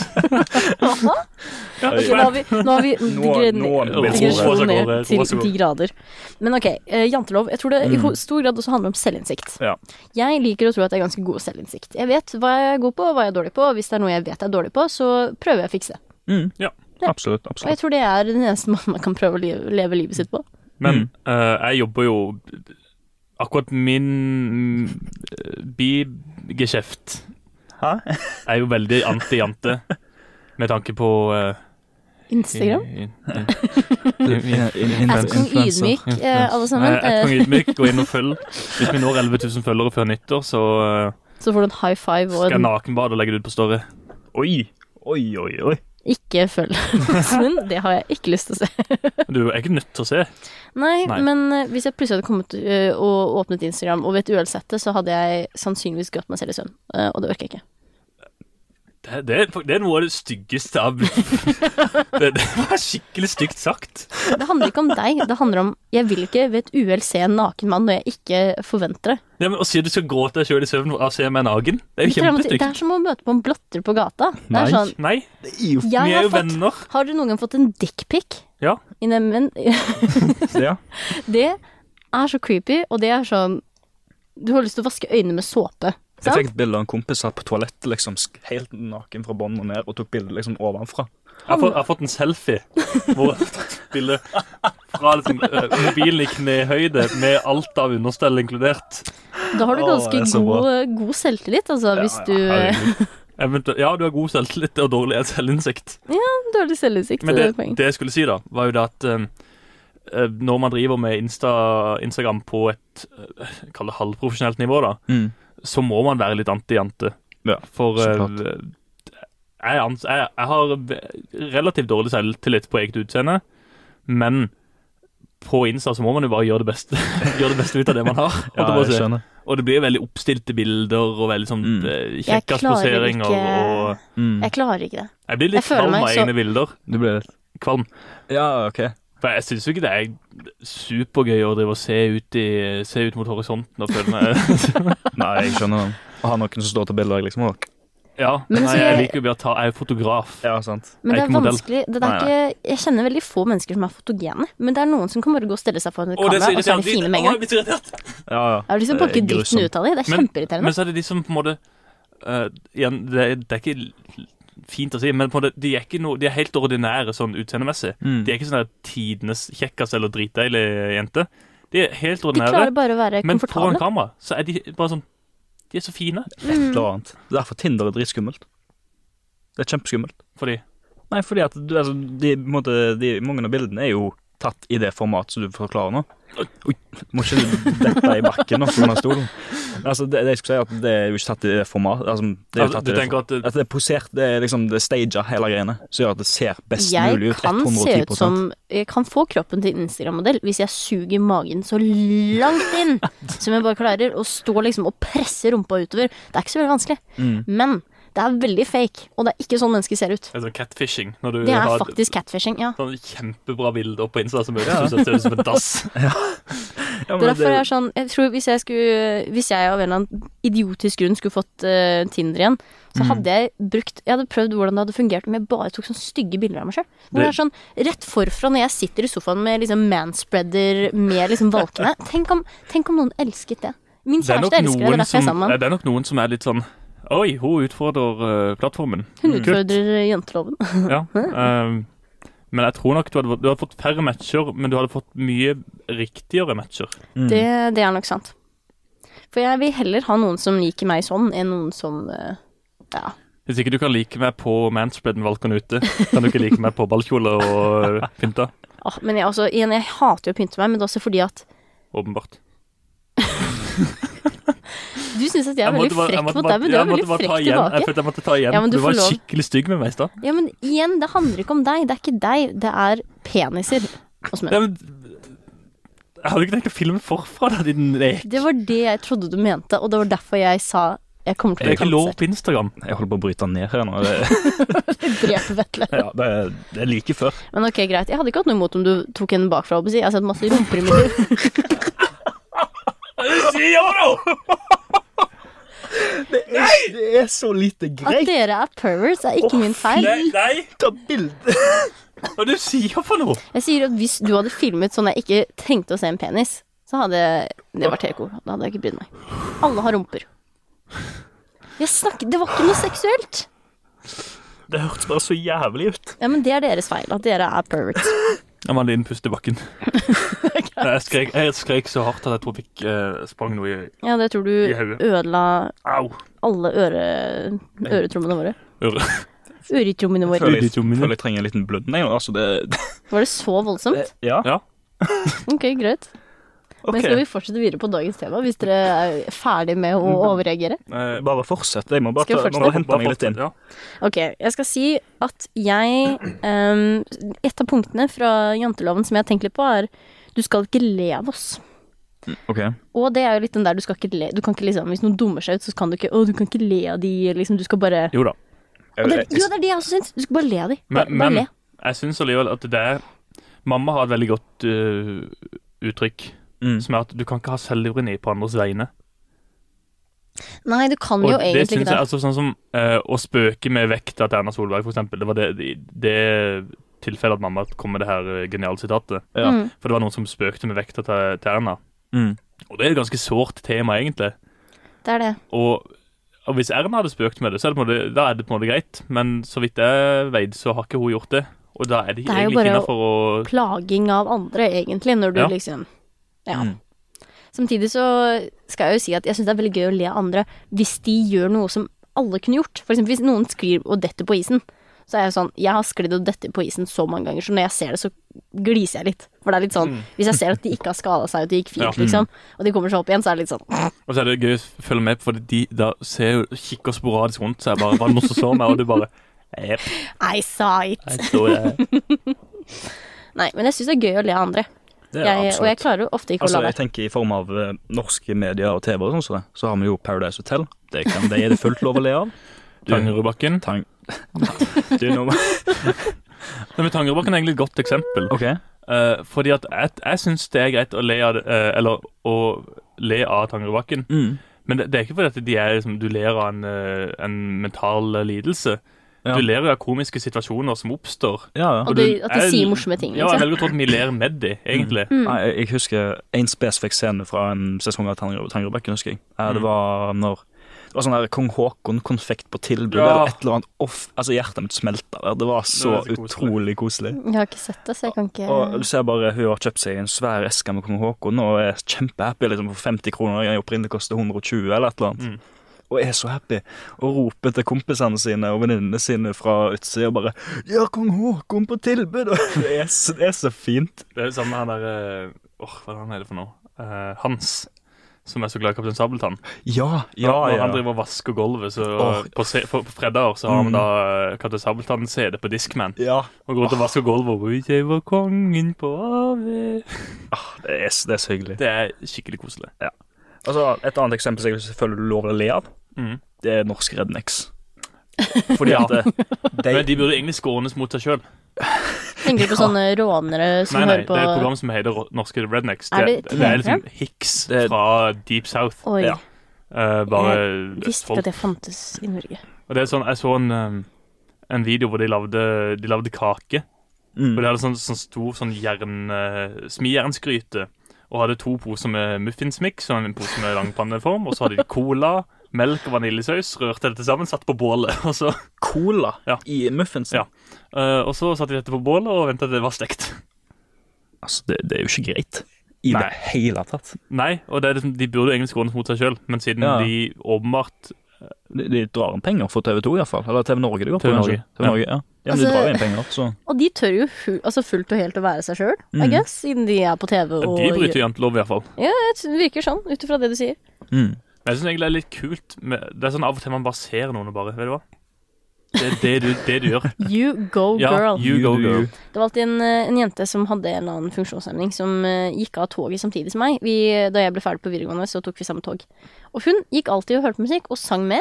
B: Hva?
A: Ja,
B: Ok, nå har
A: swamp.
B: vi, nå har vi
C: Nå-
B: digre-
C: nå-
B: digresjon
A: Rosa går-
B: ned til
A: rosa går.
B: ti grader. Men ok, eh, jantelov. Jeg tror det i
A: Mm.
B: ho- stor grad også handler om selvinnsikt.
C: Ja.
B: Jeg liker å tro at jeg er ganske god selvinnsikt. Jeg vet hva jeg er god på, og hva jeg er dårlig på, og hvis det er noe jeg vet jeg er dårlig på, så prøver jeg å fikse det.
C: Mm,
A: Ja.
C: Absolutt.
B: Og jeg
C: absolutt.
B: tror det er den eneste [laughs] måten man kan prøve å leve, leve livet sitt på.
A: Men
C: Mm.
A: eh, jeg jobber jo Akkurat min mm, eh, bigeskjeft
C: Hæ?
A: er jo veldig anti-jante med tanke på eh,
B: Instagram.
A: i-
B: [laughs] Jeg skal ydmyk, eh, alle sammen.
A: Nei, Ett
B: Eh,
A: gang ydmyk, gå inn og følg. Hvis vi når 11 000 følgere før nyttår, så eh,
B: Så får du en high five og
A: skal jeg
B: en
A: nakenbade og legge det ut på story.
C: Oi, oi, oi. oi.
B: ikke
A: [laughs]
B: følg [laughs] Åsmund. Det har jeg ikke lyst til å se.
A: Du er ikke nødt til å se.
B: Nei,
A: Nei.
B: men eh, hvis jeg plutselig hadde kommet eh, og åpnet Instagram og ved et uhell sett det, så hadde jeg sannsynligvis gått meg selv i søvn. Eh, Og det orker jeg ikke.
A: Det, det, er- det er noe av det styggeste av [laughs] det, det var skikkelig stygt sagt.
B: Det handler ikke om deg. Det handler om jeg vil ikke ved et uhell se en naken mann når jeg ikke forventer det.
A: Ja, men Å si at du skal gråte deg sjøl i søvn av å se meg naken, det er jo
B: Det er, det
A: kjempestygt.
B: er som å møte på en blotter på gata. Det
C: Nei.
B: er sånn
A: Nei,
C: Det er jo
A: vi
B: jeg
A: er
B: har
A: jo
B: fått
A: venner.
B: Har dere noen gang fått en dickpic
A: Ja.
B: i nemmen?
C: Ja.
B: Det er så creepy, og det er sånn Du har lyst til å vaske øynene med såpe.
C: Jeg
B: [laughs] Sant?
C: fikk et bilde av en kompis satt på toalettet liksom sk- helt naken fra bånn og ned og tok bilde liksom ovenfra.
A: Jeg har fått, jeg har fått en selfie hvor jeg har tatt bilde fra liksom, eh, mobilen i knehøyde med alt av understell inkludert.
B: Da har du
C: Åh,
B: ganske
C: det er så
B: god, god selvtillit, altså, hvis du eh,
A: Eventuelt- Ja, du har god selvtillit og dårlig selvinnsikt.
B: [laughs] Dårlig selvinnsikt.
A: Men
B: det
A: det,
B: er poeng.
A: det jeg skulle si, da, var jo det at eh, eh, når man driver med Insta, Instagram på et eh, kall det halvprofesjonelt nivå, da,
C: Mm.
A: så må man være litt anti-jante.
C: Ja,
A: For
C: så
A: eh,
C: klart.
A: jeg, ans jeg, jeg har v- relativt dårlig selvtillit på eget utseende, men på Insta så må man jo bare gjøre det beste, [laughs] gjøre det beste ut av det man har. holdt jeg på å si.
C: skjønner.
A: og det blir veldig oppstilte bilder og veldig sånn
C: Mm.
A: eh,
B: Jeg klarer
A: kjekkasposeringer
B: ikke-
A: og
C: Mm.
B: Jeg klarer ikke det.
A: Jeg blir
B: Jeg
A: litt
B: føler
A: kvalm
B: meg
A: av
B: så-
A: egne bilder.
C: Du ble litt
A: Kvalm.
C: Ja, OK.
A: For jeg syns jo ikke det er supergøy å drive og se ut, i, se ut mot horisonten og føle meg [laughs]
C: Nei, jeg skjønner den. Å ha noen som står til bilder, liksom. og-
A: Ja,
B: Men
A: nei,
B: så
A: jeg
B: jeg-
A: liker jo bare å ta Jeg er fotograf.
C: Ja, sant.
A: Jeg
B: Men det
A: er
B: er
A: ikke modell.
B: vanskelig det, det
C: Nei,
B: er ikke, Jeg kjenner veldig få mennesker som er fotogene, men det er noen som kan bare gå og stille seg foran et
A: Å, det
B: kamera,
A: er så
B: og så er
A: irriterende.
B: de fine med en
A: Å, jeg
B: gang.
A: blir så irritert.
C: Ja, ja.
B: Jeg har lyst til å
C: Det er
B: plukke dritten
C: grusomt.
B: ut av dem. Det er
A: Men- Men sånn
B: kjempeirriterende.
A: så er det de som på en måte eh, Igjen, det, er- det er ikke l- fint å si, men på en måte, de er ikke noe De er helt ordinære sånn utseendemessig.
C: Mm.
A: De er ikke sånn der tidenes kjekkeste eller dritdeilig jente. De er helt
B: De klarer
A: ordinære,
B: bare å være
A: men foran
B: komfortable.
A: kamera så er de bare sånn De er så fine
C: Et eller annet. Det er Derfor Tinder er dritskummelt. Det er kjempeskummelt.
A: for de.
C: Nei, fordi at du, altså, de, på en måte, de, mange av bildene er jo tatt i det format som du forklarer nå. Oi, må ikke du dette i bakken nå på grunn av stolen. Altså, det, det jeg skulle si er at det er jo ikke tatt i det format. Altså, det er jo
A: Altså,
C: tatt
A: du
C: i det
A: tenker at eh,
C: for- at det er posert, det er liksom det er staged hele greiene, som gjør at det ser best mulig
B: Jeg
C: ut.
B: kan
C: 110%.
B: se ut som Jeg kan få kroppen til en Instagram-modell hvis jeg suger magen så langt inn
C: [laughs]
B: som jeg bare klarer, og står liksom og presser rumpa utover. Det er ikke så veldig vanskelig.
C: Mm.
B: Men det er veldig fake, og det er ikke sånn mennesker ser ut.
A: det er sånn catfishing. Når du
B: Det er
A: har
B: faktisk catfishing, ja. [laughs]
A: sånn kjempebra bilder på Insta som høres ut som du ser ut som en dass.
C: Ja, men
B: Det er derfor
C: det-
B: jeg er sånn Jeg tror hvis jeg skulle Hvis jeg av en eller annen idiotisk grunn skulle fått eh, Tinder igjen,
A: Mm.
B: så hadde jeg brukt Jeg hadde prøvd hvordan det hadde fungert om jeg bare tok sånne stygge bilder av meg sjøl. Hvor det
A: Det-
B: er sånn rett forfra når jeg sitter i sofaen med liksom manspreader med
A: [laughs]
B: liksom valkene. Tenk om, tenk om noen elsket det. Min
A: Det er nok
B: kjæreste elsker det,
A: noen
B: det er derfor jeg er
A: som,
B: sammen med
A: ja,
B: han.
A: det er nok noen som er litt sånn Oi, hun utfordrer eh, plattformen.
B: Hun
A: Kult.
B: utfordrer jenteloven. [laughs]
A: Ja. ehm, men jeg tror nok du hadde, du hadde fått færre matcher, men du hadde fått mye riktigere matcher.
B: Det, det er nok sant. For jeg vil heller ha noen som liker meg sånn, enn noen som eh, Ja.
A: Hvis ikke du kan like meg på manspreaden valken ute, kan du ikke like meg på ballkjole og eh, pynta.
B: Åh, men jeg, altså, igjen, jeg hater jo å pynte meg, men det er også fordi at
A: Åpenbart.
B: Du syns at jeg
A: Jeg
B: er
A: måtte
B: veldig
A: bare- jeg
B: frekk
A: måtte
B: mot
A: bare-
B: deg, men du
A: jeg
B: er veldig
A: måtte bare
B: frekk
A: ta igjen. Jeg
B: tilbake.
A: følte jeg måtte ta igjen.
B: Ja, men
A: du
B: du
A: var
B: får lov.
A: skikkelig stygg med meg i stad.
B: Ja, men igjen, det handler ikke om deg. Det er ikke deg, det er peniser hos
A: Ja,
B: menn.
A: men Jeg hadde ikke tenkt å filme forfra, da, din nek.
B: Det var det jeg trodde du mente, og det var derfor jeg sa jeg kommer
A: Det er
B: til å
A: ikke
B: bli
A: lov
B: kansellert.
A: på Instagram.
C: Jeg holder på å bryte den ned her nå. Det,
B: Drepe Vetle.
C: ja, det, er- det er like før.
B: Men ok, greit. Jeg hadde ikke hatt noe imot om du tok en bakfra. holdt på å si. Jeg har sett masse rumper i mitt liv.
C: Det er så lite
B: At dere er perverts, er ikke min feil.
A: nei,
C: Ta bilde!
A: hva er det du sier for noe?
B: Jeg sier at hvis du hadde filmet sånn jeg ikke trengte å se en penis, så hadde det vært TK. Da hadde jeg ikke brydd meg. Alle har rumper. Jeg snakker, Det var ikke noe seksuelt.
C: Det hørtes bare så jævlig ut.
B: Ja, men det er deres feil, at dere er perverts.
A: Jeg må ha en liten pust i bakken.
C: [laughs]
A: jeg, skrek, jeg skrek så hardt at jeg tror jeg fikk eh, sprang noe i
B: Ja, det tror du
A: I hodet.
B: ødela
A: Au!
B: alle øre, øretrommene våre.
A: Øret.
B: Øretrommene våre.
C: Føler jeg,
A: Uditomine.
C: føler jeg trenger en liten blødning. nå, Altså det,
B: Var det så
A: Eh,
B: voldsomt?
C: Ja, [laughs]
A: Ja.
B: Ok, greit. Men
C: ok.
B: skal vi fortsette videre på dagens tema, hvis dere er ferdig med å
A: Mm.
B: overreagere?
A: Eh,
C: Bare fortsett. Jeg må bare,
B: Skal jeg
C: ta, jeg må
A: bare-
C: bare hente
A: bare
C: meg litt inn.
A: fortsett, Ja.
B: Ok, jeg skal si at jeg ehm, Et av punktene fra janteloven som jeg har tenkt litt på, er du skal ikke le av oss.
C: Ok.
B: Og det er jo litt den der du skal ikke le Du kan ikke liksom, Hvis noen dummer seg ut, så kan du ikke Å, du kan ikke le av de, liksom. Du skal bare
A: Jo da.
B: Og det, Jo, det er det jeg også syns. Du skal bare le av de. Bare,
A: Men,
B: bare
A: men
B: le.
A: jeg syns allikevel at det er Mamma har et veldig godt eh, uttrykk,
C: Mm.
A: som er at du kan ikke ha selvironi på andres vegne.
B: Nei, du kan
A: Og
B: jo
A: det
B: egentlig
A: synes
B: ikke
A: jeg,
B: det.
A: altså sånn som eh, Å spøke med vekta til Erna Solberg, for eksempel. Det var det, det, det tilfellet at mamma kom med det her eh, geniale sitatet.
C: Ja.
B: Mm.
A: For det var noen som spøkte med vekta til, til Erna.
C: Mm.
A: Og det er et ganske sårt tema, egentlig.
B: Det er det.
A: Og, og hvis Erna hadde spøkt med det, så er det, på en måte, da er det på en måte greit. Men så vidt jeg vet, så har ikke hun gjort det. Og da er det,
B: Det er jo
A: egentlig ikke
B: bare å-
A: innafor å
B: plaging av andre, egentlig, når du
A: Ja.
B: liksom Ja.
C: Mm.
B: Samtidig så skal jeg jo si at jeg syns det er veldig gøy å le av andre hvis de gjør noe som alle kunne gjort. For eksempel hvis noen sklir og detter på isen, så er jeg sånn Jeg har sklidd og dettet på isen så mange ganger, så når jeg ser det, så gliser jeg litt. For det er litt sånn Hvis jeg ser at de ikke har skada seg, og det gikk fint,
A: Mm. Ja. Mm.
B: liksom, og de kommer seg opp igjen, så er det litt sånn
A: Og så er det gøy å følge med, for de da ser jo, kikker sporadisk rundt. Så er det bare, bare noen som så meg, og det bare Jepp,
B: I saw it.
A: jeg så
C: eh,
A: det.
B: Nei, men jeg syns det er gøy å le av andre.
C: Det er
B: Jeg, og jeg
C: absolutt.
B: klarer jo ofte ikke
C: Altså,
B: å la
C: jeg
B: være.
C: tenker I form av eh, norske medier og TV, og sånn som det, så har vi jo Paradise Hotel. Det, kan, det er det fullt lov å le av. Du-
A: Tangerudbakken.
C: Tang... [laughs] Du, nå
A: Nei, men Tangerudbakken er egentlig et godt eksempel.
C: OK.
A: Eh, fordi at jeg, jeg syns det er greit å le av, det, eh, eller, å le av Tangerudbakken.
C: Mm.
A: Men det, det er ikke fordi at de er, liksom, du ler av en, eh, en mental eh, lidelse.
C: Ja.
A: Du ler jo av komiske situasjoner som oppstår.
C: Ja, ja.
B: Og de,
A: du-
B: at de
A: jeg-
B: sier morsomme ting,
A: Ja, jeg
B: liksom. Mm.
A: velger å tro at vi ler med de, egentlig.
C: Nei, jeg, jeg husker en spesifikk scene fra en sesong av Tanger- Tangerudbakken, husker jeg. Eh, Det var når det var sånn der Kong Haakon-konfekt på tilbud,
A: Ja.
C: eller et eller annet. Off, altså Hjertet mitt smelta der. Det var så
A: Det er så koselig.
C: utrolig koselig.
B: Jeg har ikke sett det, så jeg kan ikke
C: Og du ser bare Hun har kjøpt seg en svær eske med kong Haakon og er kjempehappy liksom, for 50 kroner. Den opprinnelig koster 120 eller et eller annet. Og er så happy og roper til kompisene sine og venninnene sine fra utsida og bare 'Ja, kong Haakon på tilbud!' Og det er så, det er så fint.
A: Det er det samme han der eh, Åh, hva er han heter for noe? Eh, Hans. Som er så glad i Kaptein Sabeltann.
C: Ja,
A: Når-
C: ja,
A: Når
C: ja.
A: han driver og vasker gulvet, så
C: Åh.
A: på, se- på, på fredager så har han da eh, Kaptein Sabeltann-CD på Discman.
C: ja.
A: Og går rundt og vasker gulvet og «Oi, Jeg var kongen på havet.
C: Ah, det, er, så- det er så hyggelig.
A: Det er skikkelig koselig.
C: Altså, et annet eksempel som jeg selvfølgelig lover å le av,
A: Mhm.
C: det er norsk Rednex.
A: Fordi at, eh,
C: Det,
A: men de
C: de,
A: burde egentlig skånes mot seg sjøl.
B: Tenker du på
A: [laughs]
B: sånne rånere som
A: Nei, nei,
B: hører
A: det er et
B: på
A: program som heter Ro- Norske Rednecks.
B: Er
A: Det,
B: det
A: det, er liksom Hicks
C: Det er-
A: fra Deep South.
B: Oi,
C: Ja.
A: eh, bare
B: visste ikke
A: Østfold.
B: at det fantes i Norge.
A: Og det er sånn, Jeg så en, eh, en video hvor de lagde, de lagde kake.
C: Mm.
A: Og de hadde sånn, sånn stor sånn jern, eh, smijernsgryte. Og hadde to poser med muffinsmix og en pose med langpanneform. Og så hadde de cola, melk og vaniljesaus. Rørte dette sammen, satt på bålet. [laughs] Og så,
C: Cola
A: Ja.
C: i muffinsen.
A: Ja. eh, og så satte de dette på bålet og ventet til det var stekt.
C: Altså, det, det er jo ikke greit. I
A: Nei.
C: det hele tatt.
A: Nei, og det er liksom, de burde jo egentlig skånes mot seg sjøl, men siden
C: Ja.
A: de åpenbart
C: De, de drar inn penger for TV 2 iallfall. Eller TV Norge det går på.
A: TV
C: kanskje.
A: Norge,
C: TV Norge ja. ja, men De
B: Altså-
C: drar inn penger, så
B: Og de tør jo fu altså fullt og helt å være seg sjøl, I
C: Mm.
B: guess, siden de er på TV og
A: De bryter jantelov, i hvert fall.
B: Ja, det virker sånn, ut ifra det
A: [laughs]
B: du sier.
C: mm.
A: Men jeg syns egentlig det er litt kult med Det er sånn av og til man bare ser noen og bare Vet du hva? Det er det du, det du gjør.
B: You go
A: Ja,
B: girl.
A: you go girl.
B: Det var alltid en, eh, en jente som hadde en eller annen funksjonshemning, som eh, gikk av toget samtidig som meg. Vi, da jeg ble ferdig på videregående, så tok vi samme tog. Og hun gikk alltid og hørte musikk, og sang med.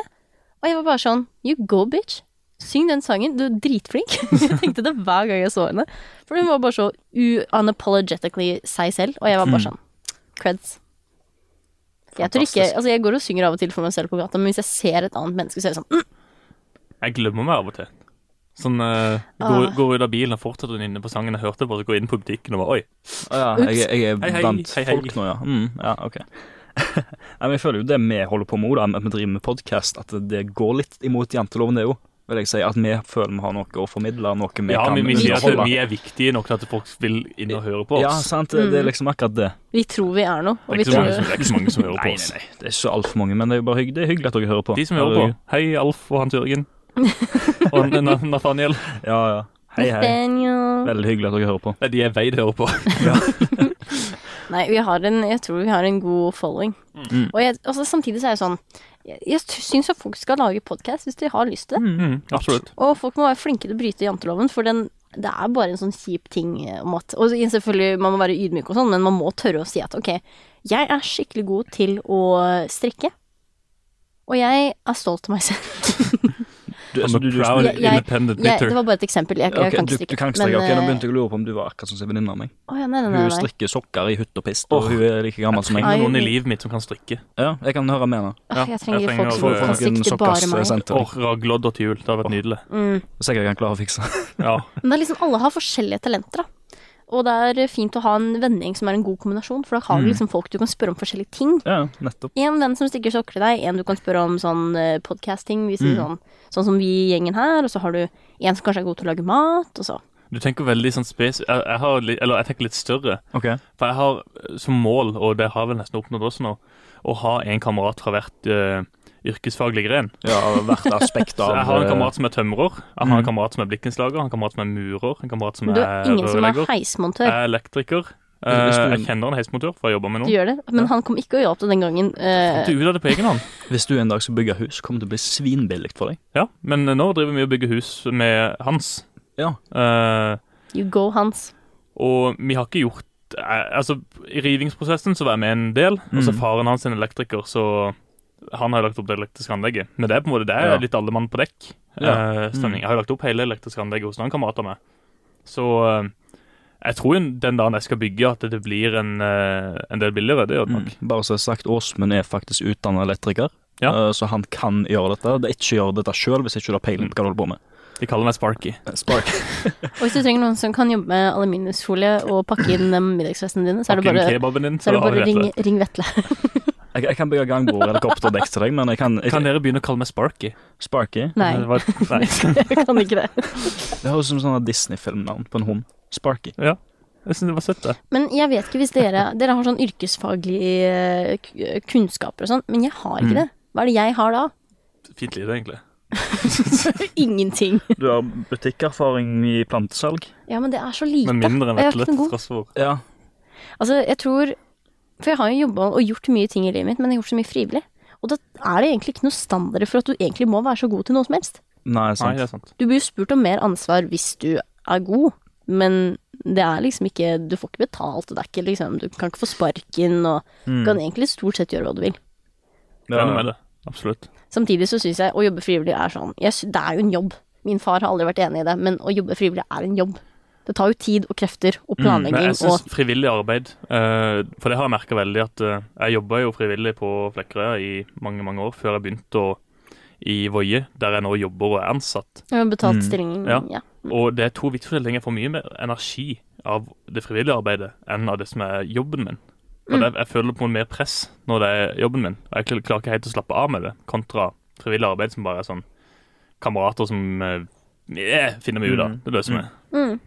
B: Og jeg var bare sånn You go, bitch. Syng den sangen. Du er dritflink. [laughs] Jeg tenkte det hver gang jeg så henne. For hun var bare så unapologetically seg selv, og jeg var bare
A: Hmm.
B: sånn Creds. Jeg tror ikke,
C: Fantastisk.
B: altså jeg går og synger av og til for meg selv på gata, men hvis jeg ser et annet menneske, så er jeg sånn mm,
A: Jeg glemmer meg av og til. Sånn eh,
B: Ah.
A: går, går ut av bilen og fortsetter den inne på sangen jeg hørte på, så går jeg inn på butikken og bare Oi.
C: Å ja, jeg, jeg er
A: Hei, hei,
C: blant
A: hei, hei.
C: folk nå, ja. Mm, ja ok. [laughs] Nei, men jeg føler jo det vi holder på med, da, at vi driver med podkast, at det går litt imot janteloven, det jo. Vil jeg si, At vi føler vi har noe å formidle, noe vi
A: Ja,
C: kan
A: men vi sier at
C: underholde.
A: vi er viktige nok til at folk vil inn og høre på
C: Ja,
A: oss.
C: sant, det, det er liksom akkurat det.
B: Vi tror vi er noe,
A: Det
B: og
A: er
B: vi
A: ikke så mange
B: tror
A: som, det er ikke så mange som hører
C: [laughs] Nei,
A: på
C: nei,
A: oss.
C: nei, det er ikke altfor mange, men det er jo bare hygg, det er hyggelig at dere hører på.
A: De som hører på. Hei, Alf og Hans
B: [laughs]
A: Jørgen. Og Na- Na- Nathaniel.
C: Ja, ja. Hei, hei.
B: Nathaniel.
C: Veldig hyggelig at dere hører på.
A: Nei, de er veid hører på.
B: Nei, vi har en, jeg tror vi har en god following. Og jeg, altså, samtidig så er det sånn Jeg, jeg syns at folk skal lage podkast hvis de har lyst til det.
A: Mm, [laughs] absolutt.
B: Og folk må være flinke til å bryte janteloven, for den, det er bare en sånn kjip ting eh, om at Og selvfølgelig, man må være ydmyk og sånn, men man må tørre å si at ok, jeg er skikkelig god til å strikke. Og jeg er stolt av meg selv.
C: Du,
A: I'm a proud
B: [laughs] Jeg- jeg-
A: independent
B: Jeg,
A: knitter.
B: det var bare et eksempel. Jeg,
C: Ok,
B: jeg kan
C: du,
B: ikke
C: du
B: strikke.
C: kan ikke strikke. Ok, Nå
B: eh,
C: begynte jeg å lure på om du var akkurat sånn som venninna mi.
B: å, ja, nei, nei, nei, Ah.
C: Hun
B: nei.
C: strikker sokker i hutt og pist,
A: Åh.
C: og hun er like gammel som meg.
A: Det er
B: Ai.
A: noen i livet mitt som kan strikke.
C: Ja, jeg kan høre med henne.
B: Åh, jeg trenger
A: jeg
B: folk
A: trenger
B: som
A: å få-
B: kan
C: Noen eh,
B: strikke til bare meg.
C: sokkersenter.
A: Og raglodd og til jul. Det hadde vært nydelig.
B: Mm.
C: Sikkert jeg kan klare å fikse. [laughs]
A: Ja.
B: Men det er liksom, alle har forskjellige talenter, da. Og det er fint å ha en vennegjeng som er en god kombinasjon, for da har
A: Mm.
B: du liksom folk du kan spørre om forskjellige ting.
C: Ja, nettopp.
B: En venn som stikker sokker til deg, en du kan spørre om sånn eh, podcast-ting, hvis
A: Mm.
B: det er sånn, sånn som vi i gjengen her, og så har du en som kanskje er god til å lage mat, og så.
A: Du tenker veldig sånn spes... Jeg, jeg, har litt, eller jeg tenker litt større.
C: Ok.
A: For jeg har eh, som mål, og det har jeg vel nesten oppnådd også nå, å ha en kamerat fra hvert eh, yrkesfaglig gren.
C: Ja, hvert aspekt
A: Så
C: av
A: jeg har en
C: eh,
A: kamerat som er tømrer, jeg har
C: Mm.
A: en kamerat som er blikkenslager, en kamerat som er murer, en kamerat som
B: Men du har
A: er
B: ingen som er
A: rørlegger, jeg
B: heismontør.
A: er elektriker. eh,
C: Hvis du-
A: jeg kjenner en heismontør, for jeg jobber med
B: Du
A: noen.
B: gjør det, men han kom ikke og hjalp deg den gangen. eh,
A: Du gjør det på egen hånd.
C: Hvis du en dag skal bygge hus, kommer det til å bli svinbillig for deg.
A: Ja, men eh, nå driver vi og bygger hus med Hans.
C: Ja.
A: Eh,
B: you go, Hans.
A: Og vi har ikke gjort eh, Altså, i rivingsprosessen så var jeg med en del, og så
C: Mm.
A: faren hans er en elektriker, så han har jo lagt opp det elektriske anlegget. Men det er på en måte det er
C: Ja.
A: litt alle mann på dekk.
C: Ja. Mm.
A: eh, stemning. Jeg har jo lagt opp hele elektriske anlegget hos noen kamerater med. Så eh, jeg tror jo den dagen jeg skal bygge, at det blir en, eh, en del billigere. Det gjør det nok.
C: Bare så jeg har sagt, Åsmund er faktisk utdannet elektriker,
A: Ja.
C: eh, så han kan gjøre dette. Det er ikke gjøre dette selv hvis ikke du har peiling på hva du holder på med.
A: De kaller meg Sparky.
C: Spark.
B: Og hvis du trenger noen som kan jobbe med aluminiumsfolie og pakke inn eh, middagsfesten dine, så er det
A: Pakke inn
B: bare,
A: kebaben din,
B: så er det
A: har vi
B: bare ring,
A: dette.
B: ring Vetle.
C: [laughs]
B: [laughs]
C: Jeg, jeg kan bygge gangbord og helikopterdekk til deg, men jeg kan, jeg,
A: Kan dere begynne å kalle meg Sparky?
C: Sparky.
B: Nei,
A: Det var- [laughs] Nei.
B: jeg kan ikke det.
C: Det høres ut som sånn Disney-filmnavn på en hund. Sparky.
A: Ja. Jeg syns det var søtt, det.
B: Men jeg vet ikke hvis dere Dere har sånn yrkesfaglig eh, k- kunnskaper og sånn, men jeg har ikke det. Hva er det jeg har da?
A: Fint lite, egentlig.
B: Ingenting.
C: [laughs] Du har butikkerfaring i plantesalg?
B: Ja, men det er så lite.
A: Men mindre enn
B: Og jeg har
A: Vetle,
B: ikke noe
A: til
B: god.
A: tross for
C: Ja.
B: Altså, jeg tror For jeg har jo jobba og gjort mye ting i livet mitt, men jeg har gjort så mye frivillig. Og da er det egentlig ikke noe standard for at du egentlig må være så god til noe som helst.
C: Nei,
A: Nei,
C: sant.
A: det er sant.
B: Du blir jo spurt om mer ansvar hvis du er god, men det er liksom ikke Du får ikke betalt, og det er ikke liksom Du kan ikke få sparken, og
C: Mm.
B: du kan egentlig stort sett gjøre hva du vil.
A: Jeg er enig med det. Absolutt.
B: Samtidig så syns jeg å jobbe frivillig er sånn jeg sy Det er jo en jobb. Min far har aldri vært enig i det, men å jobbe frivillig er en jobb. Det tar jo tid og krefter og Mm. planlegging
A: Mm, jeg synes
B: og
A: frivillig arbeid eh, For det har jeg merka veldig at eh, Jeg jobba jo frivillig på Flekkerøya i mange mange år før jeg begynte å, i Voie, der jeg nå jobber og er ansatt.
B: ja, betalt
C: Mm.
B: stilling.
A: Ja.
B: Ja.
A: Og det er to vitsefordeling. Jeg får mye mer energi av det frivillige arbeidet enn av det som er jobben min. Og det, jeg føler på mer press når det er jobben min. Og jeg klarer ikke helt å slappe av med det, kontra frivillig arbeid som bare er sånn kamerater som eh, eh, finner meg ut av.
C: Mm.
A: Det løser vi.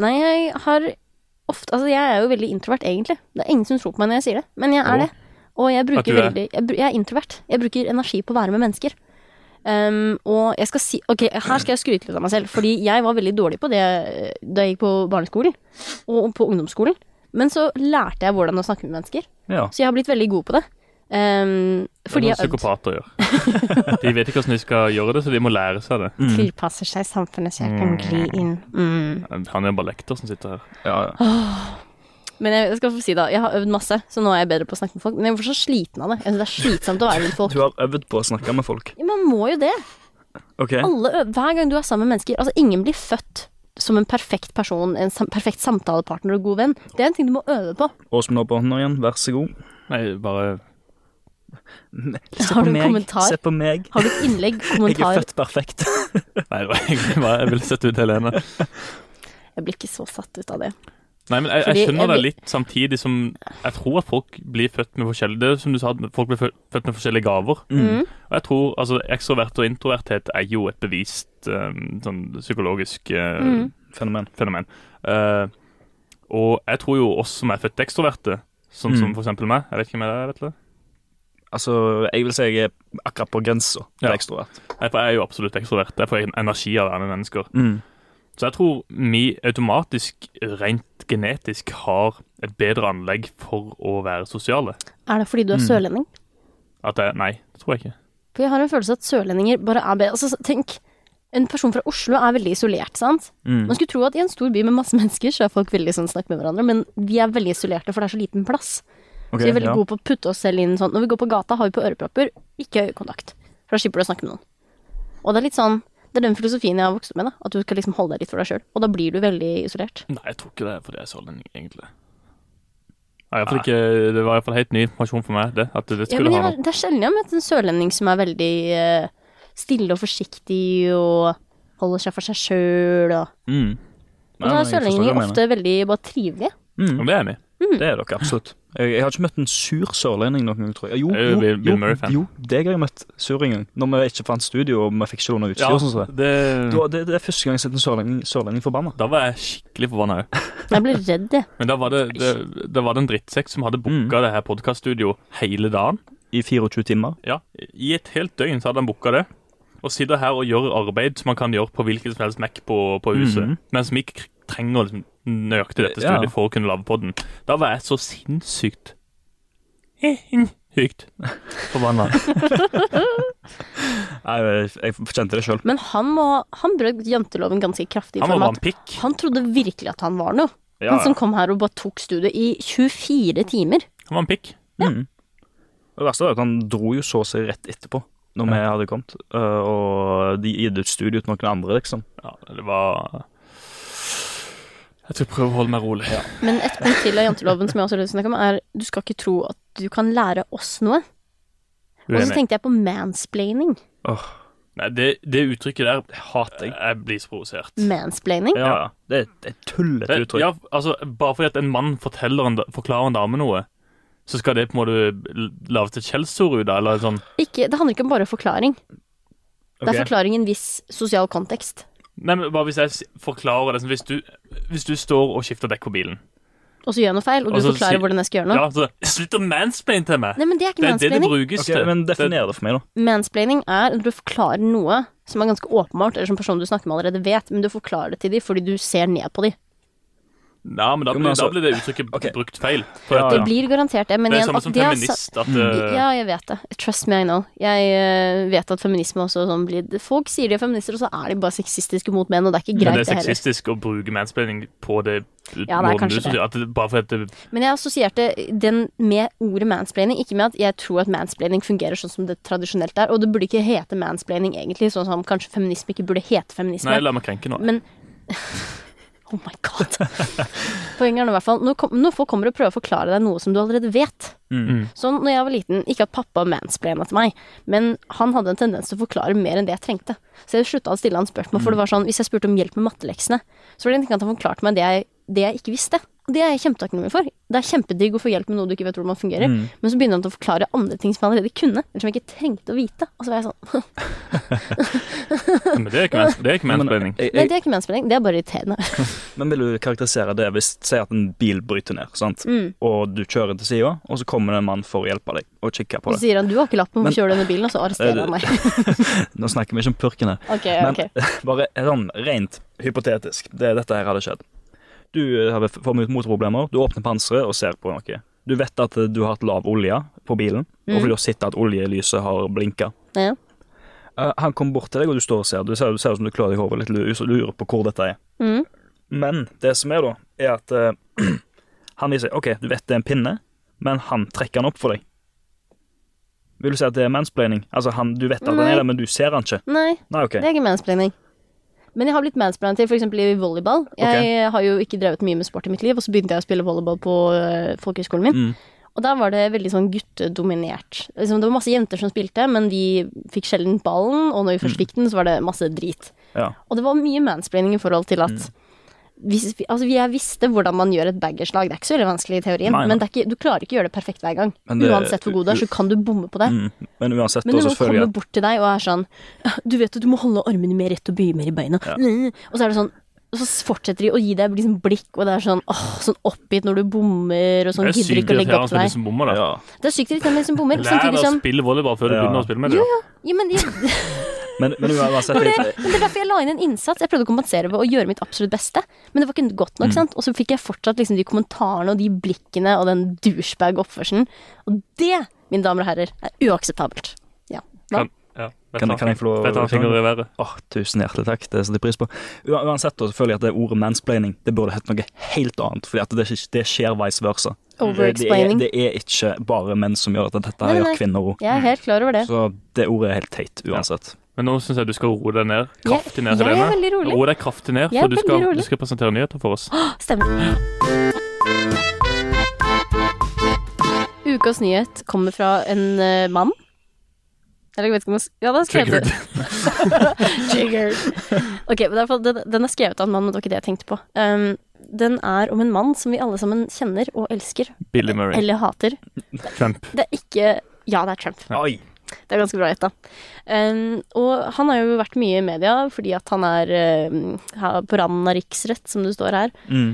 B: Nei, jeg har ofte Altså, jeg er jo veldig introvert, egentlig. Det er ingen som tror på meg når jeg sier det, men jeg
A: Jo.
B: er det. Og jeg
A: At du
B: bruker
A: er-
B: veldig jeg, bru- jeg er introvert. Jeg bruker energi på å være med mennesker. Um, og jeg skal si Ok, her skal jeg skryte litt av meg selv, fordi jeg var veldig dårlig på det eh, da jeg gikk på barneskolen og på ungdomsskolen. Men så lærte jeg hvordan å snakke med mennesker,
C: Ja.
B: så jeg har blitt veldig god på det. Um,
A: Det er
B: fordi
A: noe
B: jeg har øvd.
A: psykopater gjør. [laughs] De vet ikke hvordan de skal gjøre det, så de må lære seg det.
B: Tilpasser
A: Mm.
B: seg samfunnet, så jeg kan gli inn. Mm.
A: Han er bare lekter som sitter her.
C: Ja, ja.
B: Ah. Men jeg skal få si da, jeg har øvd masse, så nå er jeg bedre på å snakke med folk. Men jeg blir så sliten av det. Jeg synes det er slitsomt å være rundt folk.
C: Du har øvd på å snakke med folk.
B: Ja, man må jo det.
C: Ok.
B: Alle øver, hver gang du er sammen med mennesker. Altså, ingen blir født som en perfekt person, en sam perfekt samtalepartner og god venn. Det er en ting du må øve på.
C: Åsmund har på hånda igjen, vær så god.
A: Nei, bare
C: Se
B: Har
C: på
B: du en
C: meg.
B: kommentar?
C: Se på meg.
B: Har du et innlegg,
C: Jeg er
B: kommentar?
C: født perfekt. [laughs]
A: Nei, det var egentlig bare Jeg ville sett ut Helene.
B: Jeg blir ikke så satt ut av det.
A: Nei, men jeg,
B: Fordi
A: jeg skjønner det
B: jeg blir-
A: litt samtidig som Jeg tror at folk blir født med forskjellige Det er som du sa, at folk blir fø- født med forskjellige gaver.
B: Mm.
A: Og jeg tror altså ekstrovert og introverthet er jo et bevist eh, sånn psykologisk eh,
B: Mm.
C: Fenomen.
A: fenomen. Eh, og jeg tror jo oss som er født ekstroverte, sånn som
C: Mm.
A: for eksempel meg Jeg vet ikke om jeg er det, vet du.
C: Altså, jeg vil si jeg er akkurat på grensa til
A: Ja.
C: ekstrovert.
A: Nei, for Jeg er jo absolutt ekstrovert. Jeg får energi av å være med mennesker.
C: Mm.
A: Så jeg tror vi automatisk, rent genetisk, har et bedre anlegg for å være sosiale.
B: Er det fordi
C: Mm.
B: du er sørlending?
A: At jeg, nei, det tror jeg ikke.
B: For jeg har en følelse at sørlendinger bare er bedre. Altså, tenk, en person fra Oslo er veldig isolert, sant?
C: Mm.
B: Man skulle tro at i en stor by med masse [laughs] mennesker, så er folk veldig sånn snakke med hverandre, men vi er veldig isolerte, for det er så liten plass.
C: Ok,
B: Så vi er veldig
C: ja.
B: gode på å putte oss selv inn sånn. Når vi går på gata, har vi på ørepropper, ikke øyekontakt. For da slipper du å snakke med noen. Og det er litt sånn Det er den filosofien jeg har vokst opp med, da. At du skal liksom holde deg litt for deg sjøl. Og da blir du veldig isolert.
A: Nei, jeg tror ikke det er fordi jeg er sørlending, egentlig. Nei, i hvert fall ikke, det var iallfall helt ny informasjon for meg, det. At det
B: Ja,
A: skulle
B: men
A: ha
B: jeg, har-
A: noe.
B: det er sjelden jeg har møtt en sørlending som er veldig eh, stille og forsiktig og holder seg for seg sjøl og
C: Mm.
B: Og da
C: Nei,
B: er
C: jeg forstår hva du
B: sørlendinger
C: mener.
B: ofte veldig bare trivelige.
A: Men det er enig.
B: Mm.
C: Det er dere absolutt. Jeg, jeg har ikke møtt en sur sørlending noen gang, tror jeg. Jo,
A: Jeg er jo
C: jo,
A: Bill- Bill
C: jo,
A: Murray-fan.
C: jo deg har jeg møtt sur en gang. Når vi ikke fant studio og vi fikk ikke låne utstyr. og sånn som det.
A: det,
C: Da- Det, det er første gang jeg har sett en sørlending, sørlending forbanna.
A: da var jeg skikkelig forbanna òg.
B: Jeg blir redd, jeg.
A: Men da var det, det, da var det en drittsekk som hadde booka det her podkaststudioet hele dagen.
C: I 24 timer.
A: Ja, i et helt døgn så hadde han booka det. Og sitter her og gjør arbeid som man kan gjøre på hvilken som helst Mac på, på huset.
C: Mhm.
A: Mens vi ikke trenger liksom, nøyaktig dette
C: Ja.
A: studiet for å kunne lage podden. Da var jeg så sinnssykt Hykt forbanna.
C: Nei, jeg, jeg kjente det sjøl.
B: Men han, må, han brøt janteloven ganske kraftig. i
A: Han var
B: form av
A: bare
B: at
A: en pikk.
B: han trodde virkelig at han var noe.
C: Ja,
B: Han
C: ja.
B: som kom her og bare tok studiet i 24 timer.
A: Han var en pikk.
C: Mm. Det verste er at han dro jo så seg rett etterpå, når vi hadde kommet. øh, Og de gitt ut studio til noen andre, liksom.
A: Ja, det var Jeg skal prøve å holde meg rolig.
B: Men et punkt til av janteloven som jeg også har lyst til å snakke om, er du skal ikke tro at du kan lære oss noe. Og så
A: Uenig.
B: tenkte jeg på mansplaining.
C: Åh,
A: Nei, det, det uttrykket der
C: hater jeg.
A: Jeg blir så provosert.
B: Mansplaining.
C: Ja, ja. Det er det er et tullete
A: Det,
C: uttrykk.
A: ja, altså, bare fordi at en mann forteller en, da- forklarer en dame noe, så skal det på en måte lages et skjellsord ut av, eller sånn
B: Ikke, det handler ikke om bare forklaring. Det er
C: Ok.
B: forklaring i en viss sosial kontekst.
A: Nei, men bare hvis jeg s- forklarer det sånn hvis, du- hvis du står og skifter dekk på bilen
B: Og så gjør jeg noe feil, og du
A: Og så
B: forklarer
A: sier-
B: hvordan jeg skal gjøre noe.
A: Altså, Ja, så Slutt å mansplaine til meg!
B: Nei, men det er ikke
A: Det er det det
B: mansplaining.
A: brukes
C: Ok,
A: til.
C: men
A: Det-
C: definer det for meg, da.
B: Mansplaining er når du forklarer noe som er ganske åpenbart, eller som personen du snakker med allerede vet, men du forklarer det til dem fordi du ser ned på dem.
A: Ja, men da
C: Jo,
A: blir,
C: men altså-
A: da blir det uttrykket
C: Ok.
A: brukt feil. For
C: Ja,
A: at,
B: Det
C: ja.
B: blir garantert det, men
A: Ah, Det er
B: igjen
A: samme
B: at
A: som
B: det er sa- Mm,
A: feminist. At, eh,
B: Ja, jeg vet det. Trust me, I know. Jeg eh, vet at feminisme også sånn blir Folk sier de er feminister, og så er de bare sexistiske mot menn, og det er ikke
A: men det
B: greit,
A: er
B: det heller.
A: sexistisk å bruke mansplaining på det
B: Ja, det er kanskje det.
A: sier, At det. Bare fordi at det
B: Men jeg assosierte den med ordet mansplaining, ikke med at jeg tror at mansplaining fungerer sånn som det tradisjonelt er, og det burde ikke hete mansplaining egentlig, sånn som kanskje feminisme ikke burde hete feminisme.
A: Nei, la meg krenke nå.
B: Men [laughs] Oh my god. Poenget er nå i hvert fall nå, kom, nå får- kommer du prøve å forklare deg noe som du allerede vet.
C: Mm.
B: Sånn når jeg var liten, ikke at pappa mansplaina til meg, men han hadde en tendens til å forklare mer enn det jeg trengte. Så jeg slutta å stille han spørsmål,
C: Mm.
B: for det var sånn, hvis jeg spurte om hjelp med matteleksene, så var det egentlig at han forklarte meg det jeg, det jeg ikke visste. Og Det er jeg kjempetakknemlig for. Det er kjempedigg å få hjelp med noe du ikke vet hvordan fungerer.
C: Mm.
B: Men så begynner han til å forklare andre ting som jeg allerede kunne, eller som jeg ikke trengte å vite. Og så var jeg sånn [laughs]
A: Men det er ikke mens- det er ikke mansplaining.
C: jeg,
B: Nei,
C: jeg,
B: det er ikke mansplaining, det er bare irriterende.
C: eh, Men vil du karakterisere det hvis Si at en bil bryter ned, sant?
B: Mm.
C: og du kjører til sida, og så kommer det en mann for å hjelpe deg og kikke på
B: Så
C: det.
B: sier han du har ikke lappen,
C: Men-
B: hvorfor kjører du denne bilen? Og så
C: [laughs]
B: arresterer han meg.
C: Nå snakker vi ikke om purken her.
B: Ok,
C: Men
B: ok.
C: [laughs] bare sånn rent hypotetisk, det er dette her hadde skjedd. Du har får mot- motorproblemer, du åpner panseret og ser på noe. Du vet at eh, du har hatt lav olje på bilen, og
B: Mm.
C: fordi du har sett at oljelyset har blinka.
B: Ja.
C: Eh, han kommer bort til deg, og du står og ser. Du ser, du ser ut som du klør deg i hodet litt, lu- så du lurer på hvor dette er.
B: Mhm.
C: Men det som er, da, er at eh, [clears throat] han viser OK, du vet det er en pinne, men han trekker den opp for deg. Vil du si at det er mansplaining? Altså, han, du vet at den
B: Nei.
C: er der, men du ser den ikke?
B: Nei,
C: Nei, OK.
B: det er ikke mansplaining. Men jeg har blitt mansplaina til, f.eks. i volleyball. Jeg har jo ikke drevet mye med sport i mitt liv, og så begynte jeg å spille volleyball på øh, folkehøyskolen min.
C: Mm.
B: Og der var det veldig sånn guttedominert. Liksom, det var masse jenter som spilte, men vi fikk sjelden ballen, og når vi
C: Mm.
B: først fikk den, så var det masse drit.
C: Ja.
B: Og det var mye mansplaining i forhold til at
C: Mm.
B: hvis, vi- altså, Jeg visste hvordan man gjør et baggerslag. Det er ikke så veldig vanskelig i teorien,
C: Nei, nei.
B: men det er ikke, du klarer ikke å gjøre det perfekt hver gang.
C: Men det-
B: Uansett hvor god du er, så kan du bomme på det.
C: Mm. Men uansett,
B: Men
C: da,
B: når
C: så
B: noen
C: føler jeg
B: kommer
C: at
B: bort til deg og er sånn [laughs] Du vet at du må holde armene mer rett og bøye mer i beina. Nei. Og så er det sånn og så fortsetter de å gi deg liksom blikk, og det er sånn åh, sånn oppgitt når du bommer, og sånn
A: Det er
B: gidder
A: sykt
B: ikke å legge
A: irriterende
B: opp til
A: for de
B: deg.
A: som bommer. da.
C: ja.
B: Det er sykt irriterende med de som bommer,
A: Lær
B: samtidig
A: deg å
B: som
A: spille volleyball før du
C: Ja.
A: begynner å spille med det. da.
B: ja, men, de-
C: men, men uansett
B: men det,
C: jeg-
B: men det er derfor jeg la inn en innsats. Jeg prøvde å kompensere ved å gjøre mitt absolutt beste, men det var ikke godt nok. sant? Og så fikk jeg fortsatt liksom de kommentarene og de blikkene og den douchebag-oppførselen. Og det, mine damer og herrer, er uakseptabelt. Ja. Hva?
A: Kan, ja.
C: Kan- kan jeg få lov-
A: Vet du, han finger i været.
C: Åh, tusen hjertelig takk, det setter jeg pris på. Ua- Uansett da, så føler jeg at det ordet mansplaining det burde hett noe helt annet, fordi at det, er ikke- det skjer vice versa. Det, det, er,
B: Overexplaining.
C: det er ikke bare menn som gjør dette, dette
B: Nei,
C: her
B: nei, nei.
C: gjør kvinner òg.
B: Jeg er helt klar over det.
C: Så det ordet er helt teit uansett.
A: Men nå syns jeg du skal roe deg ned. Kraftig ned,
B: Jeg- jeg er
A: Helene.
B: veldig rolig.
A: Roe deg kraftig ned,
B: Jeg er
A: for du skal,
B: veldig
A: du
B: rolig.
A: skal presentere nyheter for oss.
B: Stemmer. Ukas nyhet kommer fra en eh, mann. Eller jeg vet ikke om jeg s- Ja, den er skrevet Triggered. Ok, men i hvert fall, den, den er skrevet av en mann, men det var ikke det jeg tenkte på. Um, den er om en mann som vi alle sammen kjenner og elsker,
A: [laughs] Billy Murray.
B: eller hater.
A: Trump.
B: Det er ikke Ja, det er Trump.
C: Oi!
B: Det er ganske bra gjetta. Um, og han har jo vært mye i media fordi at han er um, her på randen av riksrett, som det står her.
C: Mm.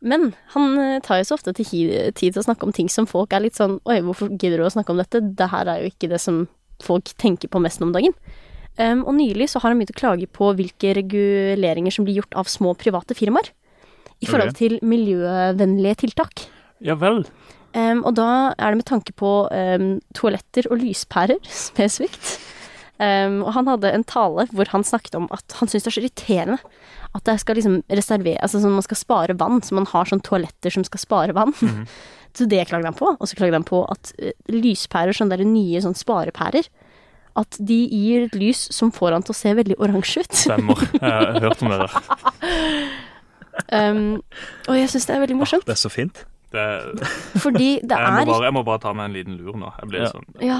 B: Men han eh, tar jo så ofte til hi- tid til å snakke om ting som folk er litt sånn Oi, hvorfor gidder du å snakke om dette? Det her er jo ikke det som folk tenker på mest nå om dagen. Um, og nylig så har han begynt å klage på hvilke reguleringer som blir gjort av små private firmaer. I forhold
A: Ok.
B: til miljøvennlige tiltak.
A: Ja vel.
B: Um, og da er det med tanke på um, toaletter og lyspærer [laughs] spesifikt. Um, og han hadde en tale hvor han snakket om at han syntes det er så irriterende at det skal liksom reservere, altså sånn man skal spare vann, så man har sånn toaletter som skal spare vann. [laughs] Så det klagde han på. Og så klagde han på at eh, lyspærer, sånne der nye sånn sparepærer, at de gir et lys som får han til å se veldig oransje ut.
A: [laughs] Stemmer. Jeg har hørt om det der.
B: Um, og jeg syns det er veldig morsomt,
C: Det er så fint.
A: Det,
B: fordi
A: jeg,
B: det
A: må
B: er
A: bare, jeg må bare ta meg en liten lur nå. Jeg blir
C: Ja.
A: sånn
B: ikke- ja,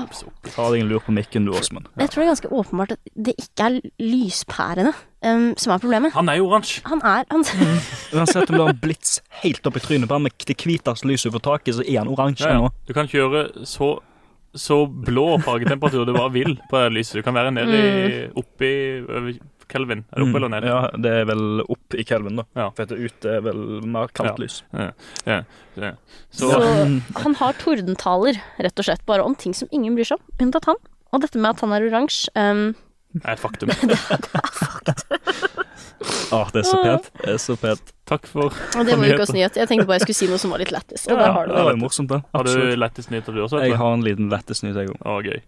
C: Ta deg en lur på mikken, du, Åsmund.
B: Jeg tror det er ganske åpenbart at det ikke er lyspærene um, som er problemet.
A: Han er jo oransje.
B: Han er han,
C: Mm. Uansett om du har en blits helt opp i trynet på ham med det hviteste lyset du får tak i, så er han oransje
A: Ja, ja.
C: nå.
A: Du kan kjøre så, så blå fargetemperatur du bare vil på det lyset. Du kan være nede
B: Mm.
A: i, oppe i over Kelvin. Er det oppe eller ned?
C: Mm. Ja, det er vel opp i kelven, da.
A: Ja.
C: For at ute er vel mer kaldt
A: Ja.
C: lys.
A: Ja. Ja. Ja. Så,
B: [laughs] så han har tordentaler, rett og slett, bare om ting som ingen bryr seg om, unntatt han. Og dette med at han er oransje um,
A: er et
C: [laughs]
A: faktum.
C: Å, Ah, det er så pent. Det er så pent.
A: Takk for
B: Og det
A: for
B: var jo ikke oss
A: nyheter.
B: nyhet. Jeg tenkte bare jeg skulle si noe som var litt lættis, og det har du.
C: det var jo morsomt, det.
A: Har
C: Absolutt.
A: du lettest nyheter, du også?
C: Jeg
A: Atle?
C: har en liten lettest nyhet, jeg òg.
A: Å, gøy.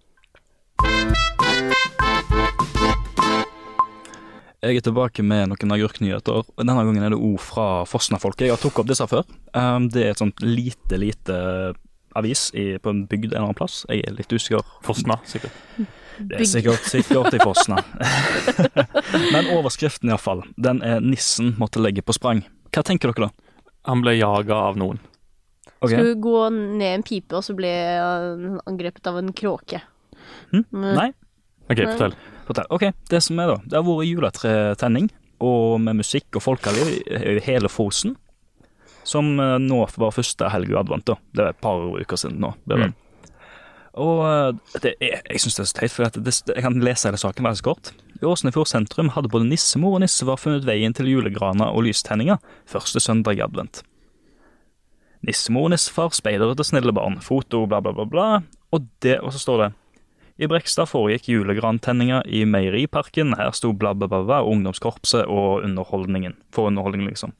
C: Jeg er tilbake med noen agurknyheter. og Denne gangen er det ord fra Fosna-folket. Jeg har tok opp disse før. Um, det er et sånt lite, lite avis i, på en bygd en eller annen plass. Jeg er litt usikker.
A: Fosna, sikkert.
C: Det er
B: Bygd.
C: sikkert, sikkert i [laughs] Fosna. Men overskriften iallfall, den er 'Nissen måtte legge på sprang'. Hva tenker dere da?
A: Han ble jaga av noen.
C: Ok.
B: Skulle gå ned en pipe, og så ble han angrepet av en kråke.
C: Hm?
B: Men-
C: Nei?
A: OK, fortell.
C: Fortell. Ok, det som er da, det har vært juletretenning, og med musikk og folkeliv i hele Fosen, som eh, nå var første helg i advent da. Det er et par uker siden nå. Det er det. Og eh, det er, jeg synes det er så teit, for at det, jeg kan lese hele saken veldig kort. I Åsnefjord sentrum hadde både nissemor og nissefar funnet veien til julegrana og lystenninga første søndag i advent. Nissemor og nissefar speider etter snille barn, foto, bla bla bla bla, og, det, og så står det i Brekstad foregikk julegrantenninga i Meieriparken. Her sto bla, bla, bla, bla, ungdomskorpset og underholdningen. For underholdning, liksom.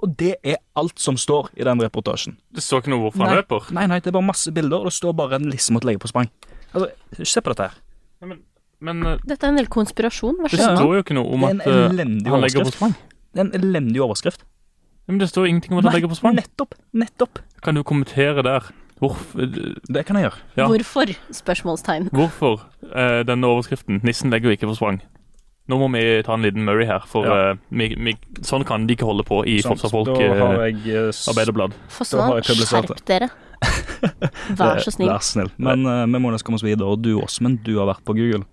C: Og det er alt som står i den reportasjen.
A: Du så ikke noe hvorfor han løper?
C: nei, nei, det er bare masse bilder, og det står bare en lisse mot legge på sprang. Altså, se på dette her.
A: Men eh,
B: Dette er en del konspirasjon, vær
A: det
C: Ja.
B: så god.
A: står jo ikke noe om
C: Det er
A: at
C: en
A: eh,
C: elendig
A: han legger på
C: overskrift.
A: sprang.
C: Det er en elendig overskrift.
A: Men det står ingenting om at han legger på sprang.
C: nettopp, nettopp.
A: Kan du kommentere der? Hvorfor,
C: Det kan jeg gjøre.
A: ja.
B: Hvorfor? Spørsmålstegn.
A: hvorfor eh, denne overskriften? Nissen legger jo ikke på sprang. Nå må vi ta en liten Murray her, for
C: Ja.
A: eh, vi, vi, sånn kan de ikke holde på i
C: Sånn,
A: Forsvarsfolk
C: da har
A: eh,
C: jeg eh, s-
A: Arbeiderblad.
C: Da har
B: Fossland,
C: jeg publisert
B: skjerp
C: [laughs]
B: dere. Vær så snill.
C: Eh, Vær snill. Men eh, vi må nesten komme oss videre, og du Åsmund, du har vært på Google.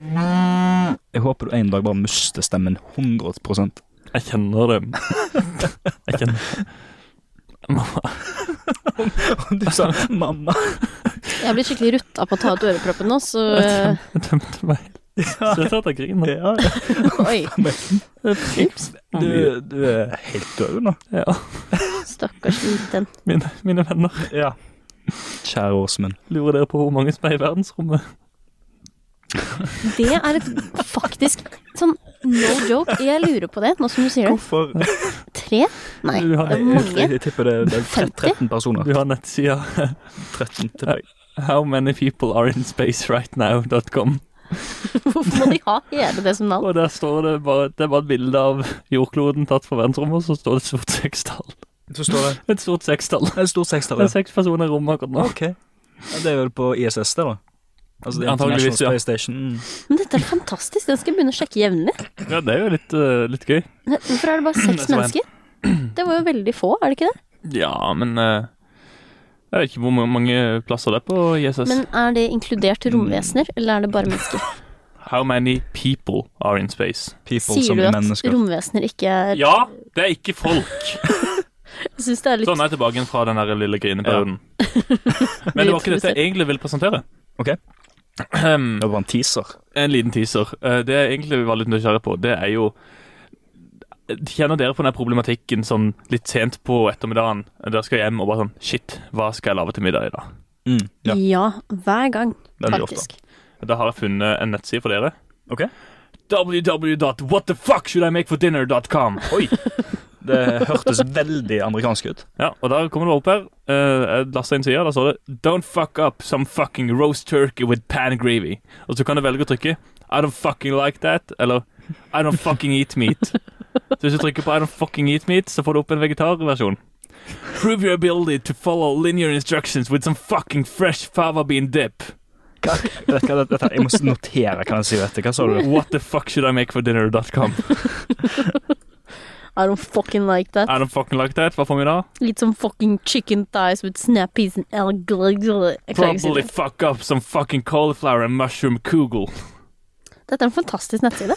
C: Jeg håper du en dag bare mister stemmen 100
A: Jeg kjenner det. Jeg kjenner
C: [laughs] Du sa 'mamma'.
B: Jeg har blitt skikkelig rutta på å ta ut øreproppen nå, så
C: [laughs]
B: eh,
A: Jeg tømte meg. Så jeg satt og griner.
C: Eh, Ja,
B: Oi,
A: Ups.
C: du, du er helt død nå.
A: Ja,
B: stakkars liten.
A: mine, mine venner,
C: Ja. Kjære Åsmund.
A: lurer dere på hvor mange som er i verdensrommet?
B: Det er et faktisk sånn no joke. Jeg lurer på det, nå som du sier det.
C: Hvorfor?
B: Tre? Nei,
A: Du har,
B: det er mange.
C: Jeg tipper det det er
B: Femti?
C: 13 personer.
A: du har nettsida
C: 13 til deg.
A: How many people are in space right now.com.
B: Hvorfor må de ha hele det som navn?
A: Og der står det bare Det er bare et bilde av jordkloden tatt fra verdensrommet, og så står det et stort sekstall.
C: Så står det
A: Et stort sekstall.
C: Det er et stort sekstall.
A: Det
C: ja.
A: er seks personer i rommet akkurat nå.
C: Ok. Ja, det er vel på ISS, det, da? Altså det er
A: Antageligvis,
C: International
A: ja.
C: Space Station. Mm.
B: Men dette er fantastisk, den skal jeg begynne å sjekke jevnlig.
A: Ja, det er jo litt, eh, litt gøy.
B: Ne- Hvorfor er det bare
A: Det
B: seks
A: så jeg.
B: mennesker? Det var jo veldig få, er det ikke det?
A: Ja, men eh, Jeg vet ikke hvor ma- mange plasser det er på ISS.
B: Men er det inkludert romvesener, eller er det bare mennesker?
A: How many people are in space?
C: People
B: Sier
C: som
B: du
C: er
B: at
C: mennesker.
B: romvesener ikke er
A: Ja, det er ikke folk.
B: Jeg syns det er litt
A: Sånn er jeg tilbake igjen fra den der lille grineperioden. Men det var ikke dette jeg egentlig ville presentere.
C: Ok.
A: Ahem.
C: Det var bare en teaser.
A: En liten teaser. Eh, Det jeg egentlig var litt nysgjerrig på, det er jo Kjenner dere på den her problematikken sånn litt sent på ettermiddagen? Dere skal hjem og bare sånn Shit, hva skal jeg lage til middag i dag?
C: Mm. Ja,
B: Ja, hver gang,
C: veldig ofte.
B: faktisk.
A: Da har jeg funnet en nettside for dere.
C: Ok.
A: www.whatthefuckshouldimake-for-dinner.com Oi!
C: Det hørtes veldig amerikansk ut.
A: Ja, og da kommer det opp her. Eh, jeg lasta inn sida, der står det 'Don't fuck up some fucking roast turkey with pan gravy'. Og så kan du velge å trykke 'I don't fucking like that' eller 'I don't fucking eat meat'. Så hvis du trykker på 'I don't fucking eat meat', så får du opp en vegetarversjon. Prove your ability to follow linear instructions with some fucking fresh fava bean dip.
C: Hva, vet du hva, dette, jeg må notere hva han sier etter. Hva sa du?
A: What the fuck should I make for dinner.com?
B: I don't fucking like
A: [laughs]
B: that.
A: I don't fucking like that. Hva får vi da?
B: Litt som fucking chicken thighs with snap peas and elg... Jeg klarer ikke å si
A: Probably
B: det.
A: fuck up some fucking cauliflower and mushroom kugel.
B: Dette er en fantastisk nettside.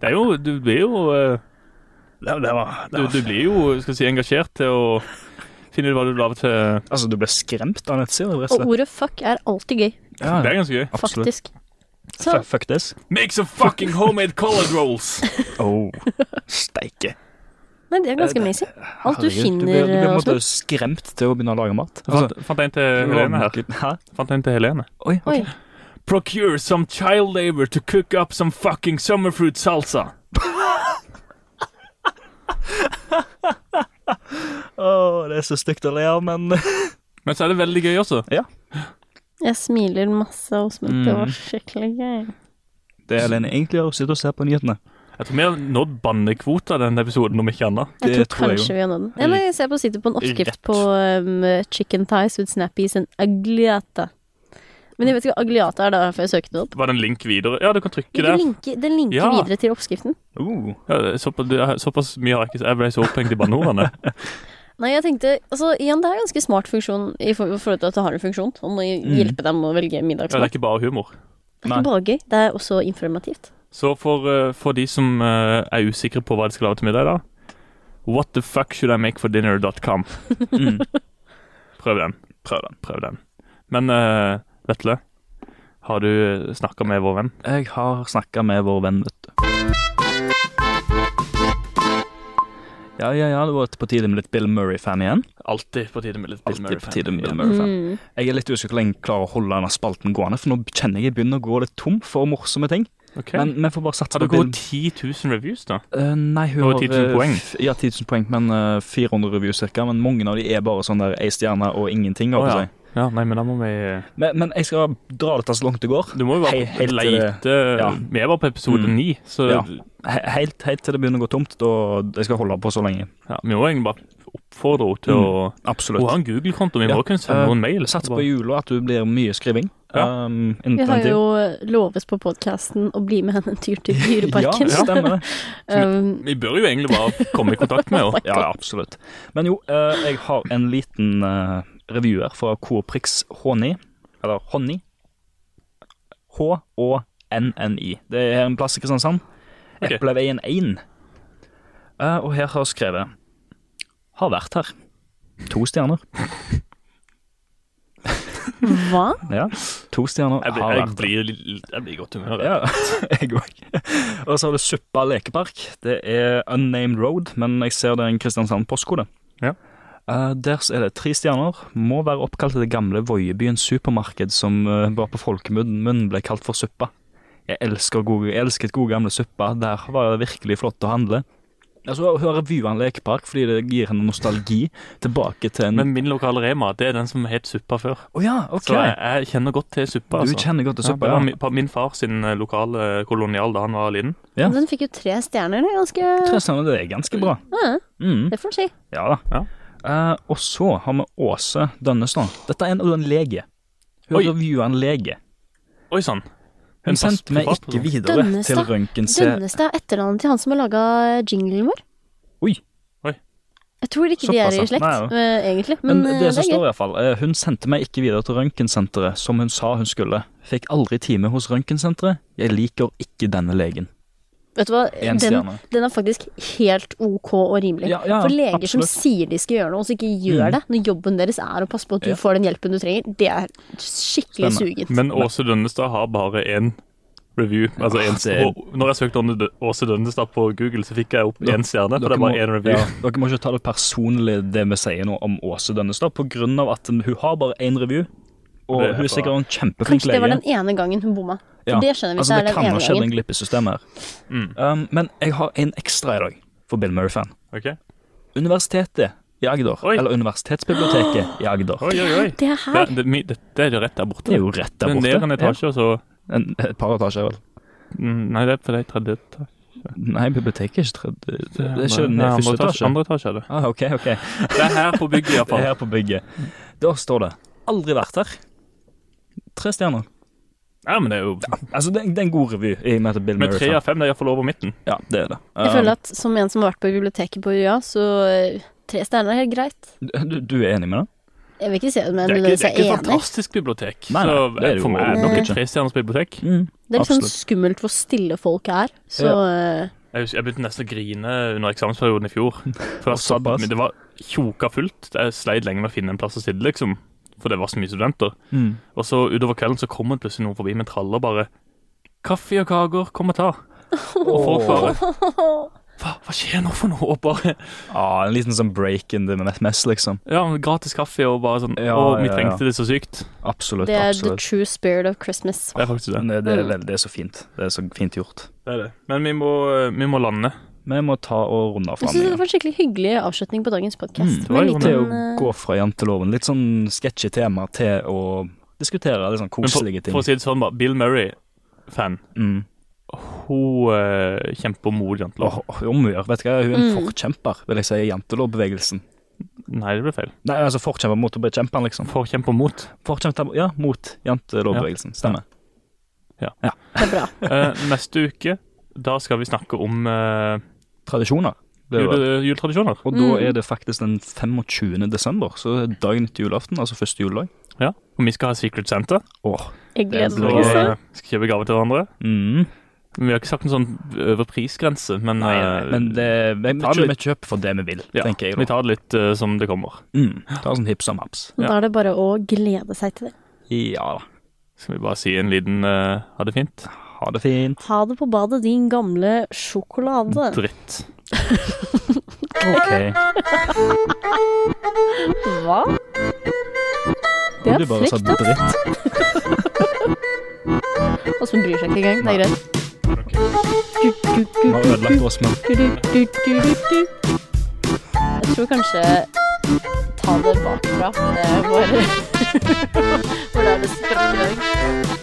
A: Det er jo Du blir jo eh,
C: Det, det var, det
A: Du,
C: var.
A: du blir jo skal vi si, engasjert til å finne ut hva du lager til
C: Altså, du ble skremt av nettsida, rett
B: Og
C: og slett.
B: ordet fuck er alltid gøy,
C: Ja,
A: Det er ganske gøy.
C: absolutt.
B: faktisk. Så
C: F- Fuck this.
A: Make some fucking homemade collard [laughs] rolls!
C: Oh, steike.
B: Nei, det er ganske amazing. Alt du
C: Eh, Herregud, Du
B: finner,
C: ble, du ble på en måte
B: Åsmund.
C: skremt til å begynne å lage mat.
A: Jeg fant, fant en til Helene her.
C: Hæ?
A: Fant en til Helene.
C: Altså, Oi, ok.
B: Oi.
A: Procure some child labor to cook up some fucking summerfruit salsa.
C: Åh, det er så stygt å le av, men
A: Men så er det veldig gøy også.
B: Jeg smiler masse, Åsmund. Det
C: Mm.
B: var skikkelig gøy.
C: Det Helene egentlig gjør, er å sitte og se på nyhetene.
A: Jeg tror vi har nådd bannekvota denne episoden, om ikke annet.
B: Jeg
C: Det
B: tror
C: tror jeg
B: kanskje
C: jo.
B: vi har nådd den. Eller jeg ser på sitter på en oppskrift på um, chicken thighs with snappies and agliata. Men jeg vet ikke hva agliata er, da, for jeg søkte det opp.
A: Var det en link videre? Ja, du kan trykke
B: Den
A: der.
B: linker, den linker
A: Ja.
B: videre til oppskriften.
C: Uh,
A: Ja, såpass, du- såpass mye har jeg ikke Jeg ble så opphengt i banneordene.
B: Nei, jeg tenkte Altså, igjen, det er en ganske smart funksjon i for- i forhold til at det har en funksjon om å
C: Mm.
B: hjelpe dem å velge
A: Ja, det er
B: middagsmat.
A: ikke bare humor.
B: det er ikke bare gøy, det er også informativt.
A: Så for, eh, for de som eh, er usikre på hva de skal lage til middag i dag What the fuck should I make for dinner.com?
C: mm.
A: Prøv den.
C: Prøv den.
A: Prøv den. Men eh, Vetle, har du snakka med vår venn?
C: Jeg har snakka med vår venn, vet du. Ja, ja, ja, det var på tide med litt Bill Murray-fan igjen.
A: Alltid på tide med litt Bill
C: Alltid på
A: Murray-fan.
C: tide med Bill
A: Ja.
C: Murray-fan.
B: Mm.
C: Jeg er litt usikker hvor lenge jeg klarer å holde denne spalten gående, for nå kjenner jeg jeg begynner å gå litt tom for morsomme ting.
A: Ok.
C: Men vi får bare satse
A: Har
C: på
A: det gått
C: Bill.
A: 10 000 reviews, da?
C: Eh, nei, hun
A: Over
C: har
A: 10 000
C: eh,
A: poeng.
C: f- Ja, 10 000 poeng, men eh, 400 reviews cirka. Men mange av de er bare sånn der ei stjerne og ingenting.
A: Å,
C: holdt jeg på å si.
A: Ja, nei, men da må vi eh,
C: men, men jeg skal dra dette så langt det går.
A: Du må jo bare
C: Hei- helt til det-
A: leite
C: ja.
A: Vi er bare på episode
C: Mm.
A: 9, så ja.
C: Ja. He helt, helt til det begynner å gå tomt. Og jeg skal holde på så lenge.
A: vi må egentlig bare oppfordre henne til
C: Mm,
A: å
C: Absolutt.
A: Hun har en Google-konto, vi må
C: Ja.
A: kunne sende henne en mail.
C: Sats på
A: Bare-
C: jula at du blir mye skriving.
A: Ja.
C: Um,
B: Vi har jo lovet på podkasten å bli med henne en tur til
C: [laughs]
B: Dyreparken.
C: Ja, stemmer det.
B: Um,
A: Vi bør jo egentlig bare komme i kontakt med henne.
C: Ja, [laughs] ja, absolutt. Men jo, eh, jeg har en liten eh, revieer fra Coprix Håni. Eller Håni. H-Å-N-N-I. Det er en plass i Kristiansand.
A: Ok.
C: Epleveien 1. Eh, og her har jeg skrevet Har vært her. To stjerner.
B: hva?
C: Ja, to stjerner.
A: Jeg blir,
C: har
A: jeg
C: vært
A: blir, litt- jeg blir i godt humør. jeg.
C: Ja, [laughs] jeg òg. Og så har du Suppa lekepark. Det er unnamed road, men jeg ser det er en Kristiansand postkode.
A: Ja.
C: Eh, der så er det tre stjerner. Må være oppkalt etter gamle Voiebyen supermarked, som eh, bare på folkemunn ble kalt for Suppa. Jeg elsker gode, jeg elsket gode gamle Suppa. Der var det virkelig flott å handle. Altså, Hun har revua en lekepark fordi det gir henne nostalgi tilbake til en Å
A: Men min lokale Rema det er den som het Suppa før.
C: ja, OK!
A: Så jeg, jeg kjenner godt til Suppa.
C: Du
A: Altså.
C: kjenner godt til
A: Ja, det
C: Suppa,
A: var
C: ja.
A: min, pa- min far sin eh, lokale kolonial da han var liten.
C: Ja.
B: Den fikk jo tre stjerner. Det er ganske
C: Tre stjerner, det er ganske bra.
B: ja,
C: Mm.
B: Det får en si.
C: Ja da.
A: Ja.
C: Eh, og så har vi Åse Dønnestad. Dette er en, en lege. Hun
A: Oi.
C: reviewer en lege.
A: Oi sann. En
C: Hun sendte meg
A: fast-
C: ikke videre til
B: Dønnestad?
C: røntgen C.
B: Dønnestad er etternavnet til han som har laga jinglen vår.
C: Oi.
A: Oi.
B: Jeg tror ikke de er
C: Såpass, ja.
B: i slekt,
C: Nei, ja.
B: eh, egentlig. Men,
C: Men
B: eh,
C: det som
B: er gøy.
C: står i hvert fall, eh, hun sendte meg ikke videre til røntgensenteret, som hun sa hun skulle. Fikk aldri time hos røntgensenteret. Jeg liker ikke denne legen.
B: Vet du hva,
C: En
B: den,
C: stjerne.
B: den er faktisk helt ok og rimelig.
C: Ja, ja,
B: For leger som
C: absolutt.
B: sier de skal gjøre noe, og så ikke gjør
C: Mm.
B: det, når jobben deres er å passe på at du
C: Ja.
B: får den hjelpen du trenger, det er skikkelig
C: Stemmer.
B: sugent.
A: Men Åse Dønnestad har bare én review. Altså
C: Ja,
A: en,
C: det er-
A: og når jeg søkte om Dø- Åse Dønnestad på Google, så fikk jeg opp
C: Dere-
A: én stjerne, for det er
C: må-
A: bare én review.
C: Ja, dere må ikke ta det personlig det vi sier nå om Åse Dønnestad, på grunn av at hun har bare én review, og
A: Det er
C: hun
A: bra.
C: er sikkert en kjempeflink
B: Kanskje
C: lege.
B: det var den ene gangen hun bomma. For
C: Ja,
B: det skjønner vi,
C: altså,
B: så er
C: det
B: det
C: kan
B: den
C: ha
B: ene
C: skjedd en
B: gangen.
C: glipp i systemet her.
A: Mm.
C: Um, men jeg har en ekstra i dag for Bill Murray-fan.
A: Ok?
C: Universitetet i Agder,
A: Oi.
C: eller Universitetsbiblioteket i Agder.
A: Oi, oi, oi.
B: Det
A: Det,
B: her
A: det, mi- det, det er jo rett der borte.
C: Det er jo rett der borte.
A: Det er ned en etasje, og så
C: Ja, en, et par etasjer, vel.
A: mm, Nei, det er på det er tredje etasje.
C: Nei, biblioteket er ikke tredje Det er ikke den
A: Nei, andre
C: første etasje.
A: Andre etasje er det.
C: Ah, OK, OK.
A: Det er her på bygget,
C: Det er
A: iallfall.
C: her på bygget. Da står det 'Aldri vært her'. Tre stjerner.
A: Ja, men det er jo
C: Altså, det, det er en god revy. i og med at Bill
A: Med tre
C: Murray-fan.
A: av fem, det er iallfall over midten.
C: Ja, det er det.
B: Jeg føler at som en som har vært på biblioteket på UiA, så eh, tre stjerner er helt greit.
C: Um, du, du er enig med det?
B: Jeg vil ikke si det, men
A: Det er ikke, det
B: nødvendigvis
A: er ikke
B: er
A: et
B: enig.
A: fantastisk bibliotek.
C: Nei, nei,
A: så
C: det er det
A: for
C: jo
A: meg er det
B: nok
A: nok et
B: ikke.
A: trestjerners bibliotek.
C: Mm,
B: Det er litt sånn
C: absolutt.
B: skummelt hvor stille folk er, så eh,
A: Jeg, husker, jeg begynte nesten å grine under eksamensperioden i fjor. For jeg satt,
C: såpass.
A: men det var tjoka fullt. Jeg sleit lenge med å finne en plass å sitte, liksom. For det var så mye studenter.
C: Mm.
A: Og så utover kvelden så kom det plutselig noen forbi med en tralle og bare Kaffe og kaker, kom og ta. Og folk [laughs] bare Hva, hva skjer nå for noe? Og bare
C: Ja, en liten sånn break in the mess, liksom.
A: Ja, men gratis kaffe og bare sånn
C: Ja,
A: Å, vi
C: ja,
A: trengte
C: ja.
A: det så sykt.
C: Absolutt.
B: Det er Mm. the
C: absolutt.
B: true spirit of Christmas.
A: Det er faktisk det.
C: Det, det, er, veldig- det er så fint. Det er så fint gjort.
A: det, er det. Men vi må, eh, vi må lande.
C: Vi må ta og runde av fram
B: Jeg synes det
C: igjen.
B: var en skikkelig hyggelig avslutning på dagens
C: Mm,
B: podkast.
A: det var jo
C: Til å
B: eh,
C: gå fra janteloven. Litt sånn sketchy tema til å diskutere litt sånn
A: Men for,
C: koselige ting.
A: for å si det sånn, bare. Bill Murray-fan.
C: Mm.
A: Hun eh, kjemper mot jantelov.
C: Åh, åh, om hun gjør. Vet du hva, hun er en
B: Mm.
C: forkjemper, vil jeg si, i jantelovbevegelsen.
A: Nei, det ble feil.
C: Nei, altså forkjemper mot å bekjempe han, liksom.
A: Forkjemper mot.
C: Forkjemper, ja, mot jantelovbevegelsen. Stemmer.
B: Det er bra.
A: Eh, neste uke da skal vi snakke om eh,
C: Tradisjoner. Det er jo-
A: jule, juletradisjoner.
C: og da
B: Mm.
C: er det faktisk den 25. desember, så det er dagen etter julaften, altså første juledag.
A: Ja. Og vi skal ha Secret Santa.
C: Åh.
B: Jeg
C: Det er
B: gleder
A: Så
C: bra.
B: meg.
A: eh,
B: også.
A: skal kjøpe gave til hverandre.
C: Mm.
A: Men Vi har ikke sagt en sånn øvre prisgrense, men,
C: Nei,
A: eh,
C: nei, men det, vi, vi,
A: ta
C: kjøper, vi
A: litt-
C: kjøper for det vi vil,
A: ja,
C: tenker jeg.
A: vi
C: Da.
A: tar det litt eh, som det kommer.
C: Mm. Ta sånn hips og maps.
A: Ja.
B: Da er det bare å glede seg til det.
C: Ja da.
A: Skal vi bare si en liten eh, ha det fint?
C: Ha det fint.
B: Ha det på badet, din
A: Mm,
B: gamle sjokolade.
A: Dritt.
C: Ok.
B: Hva? Det
C: Du
B: er
C: bare sa
B: frekt, da.
C: dritt.
B: Og så bryr seg ikke engang. Det er greit.
C: Vi har ødelagt oss med
B: Du-du-du-du-du-du. Jeg tror kanskje [laughs] ta det bakfra. Det er bare Hvor det er det sprekker i dag.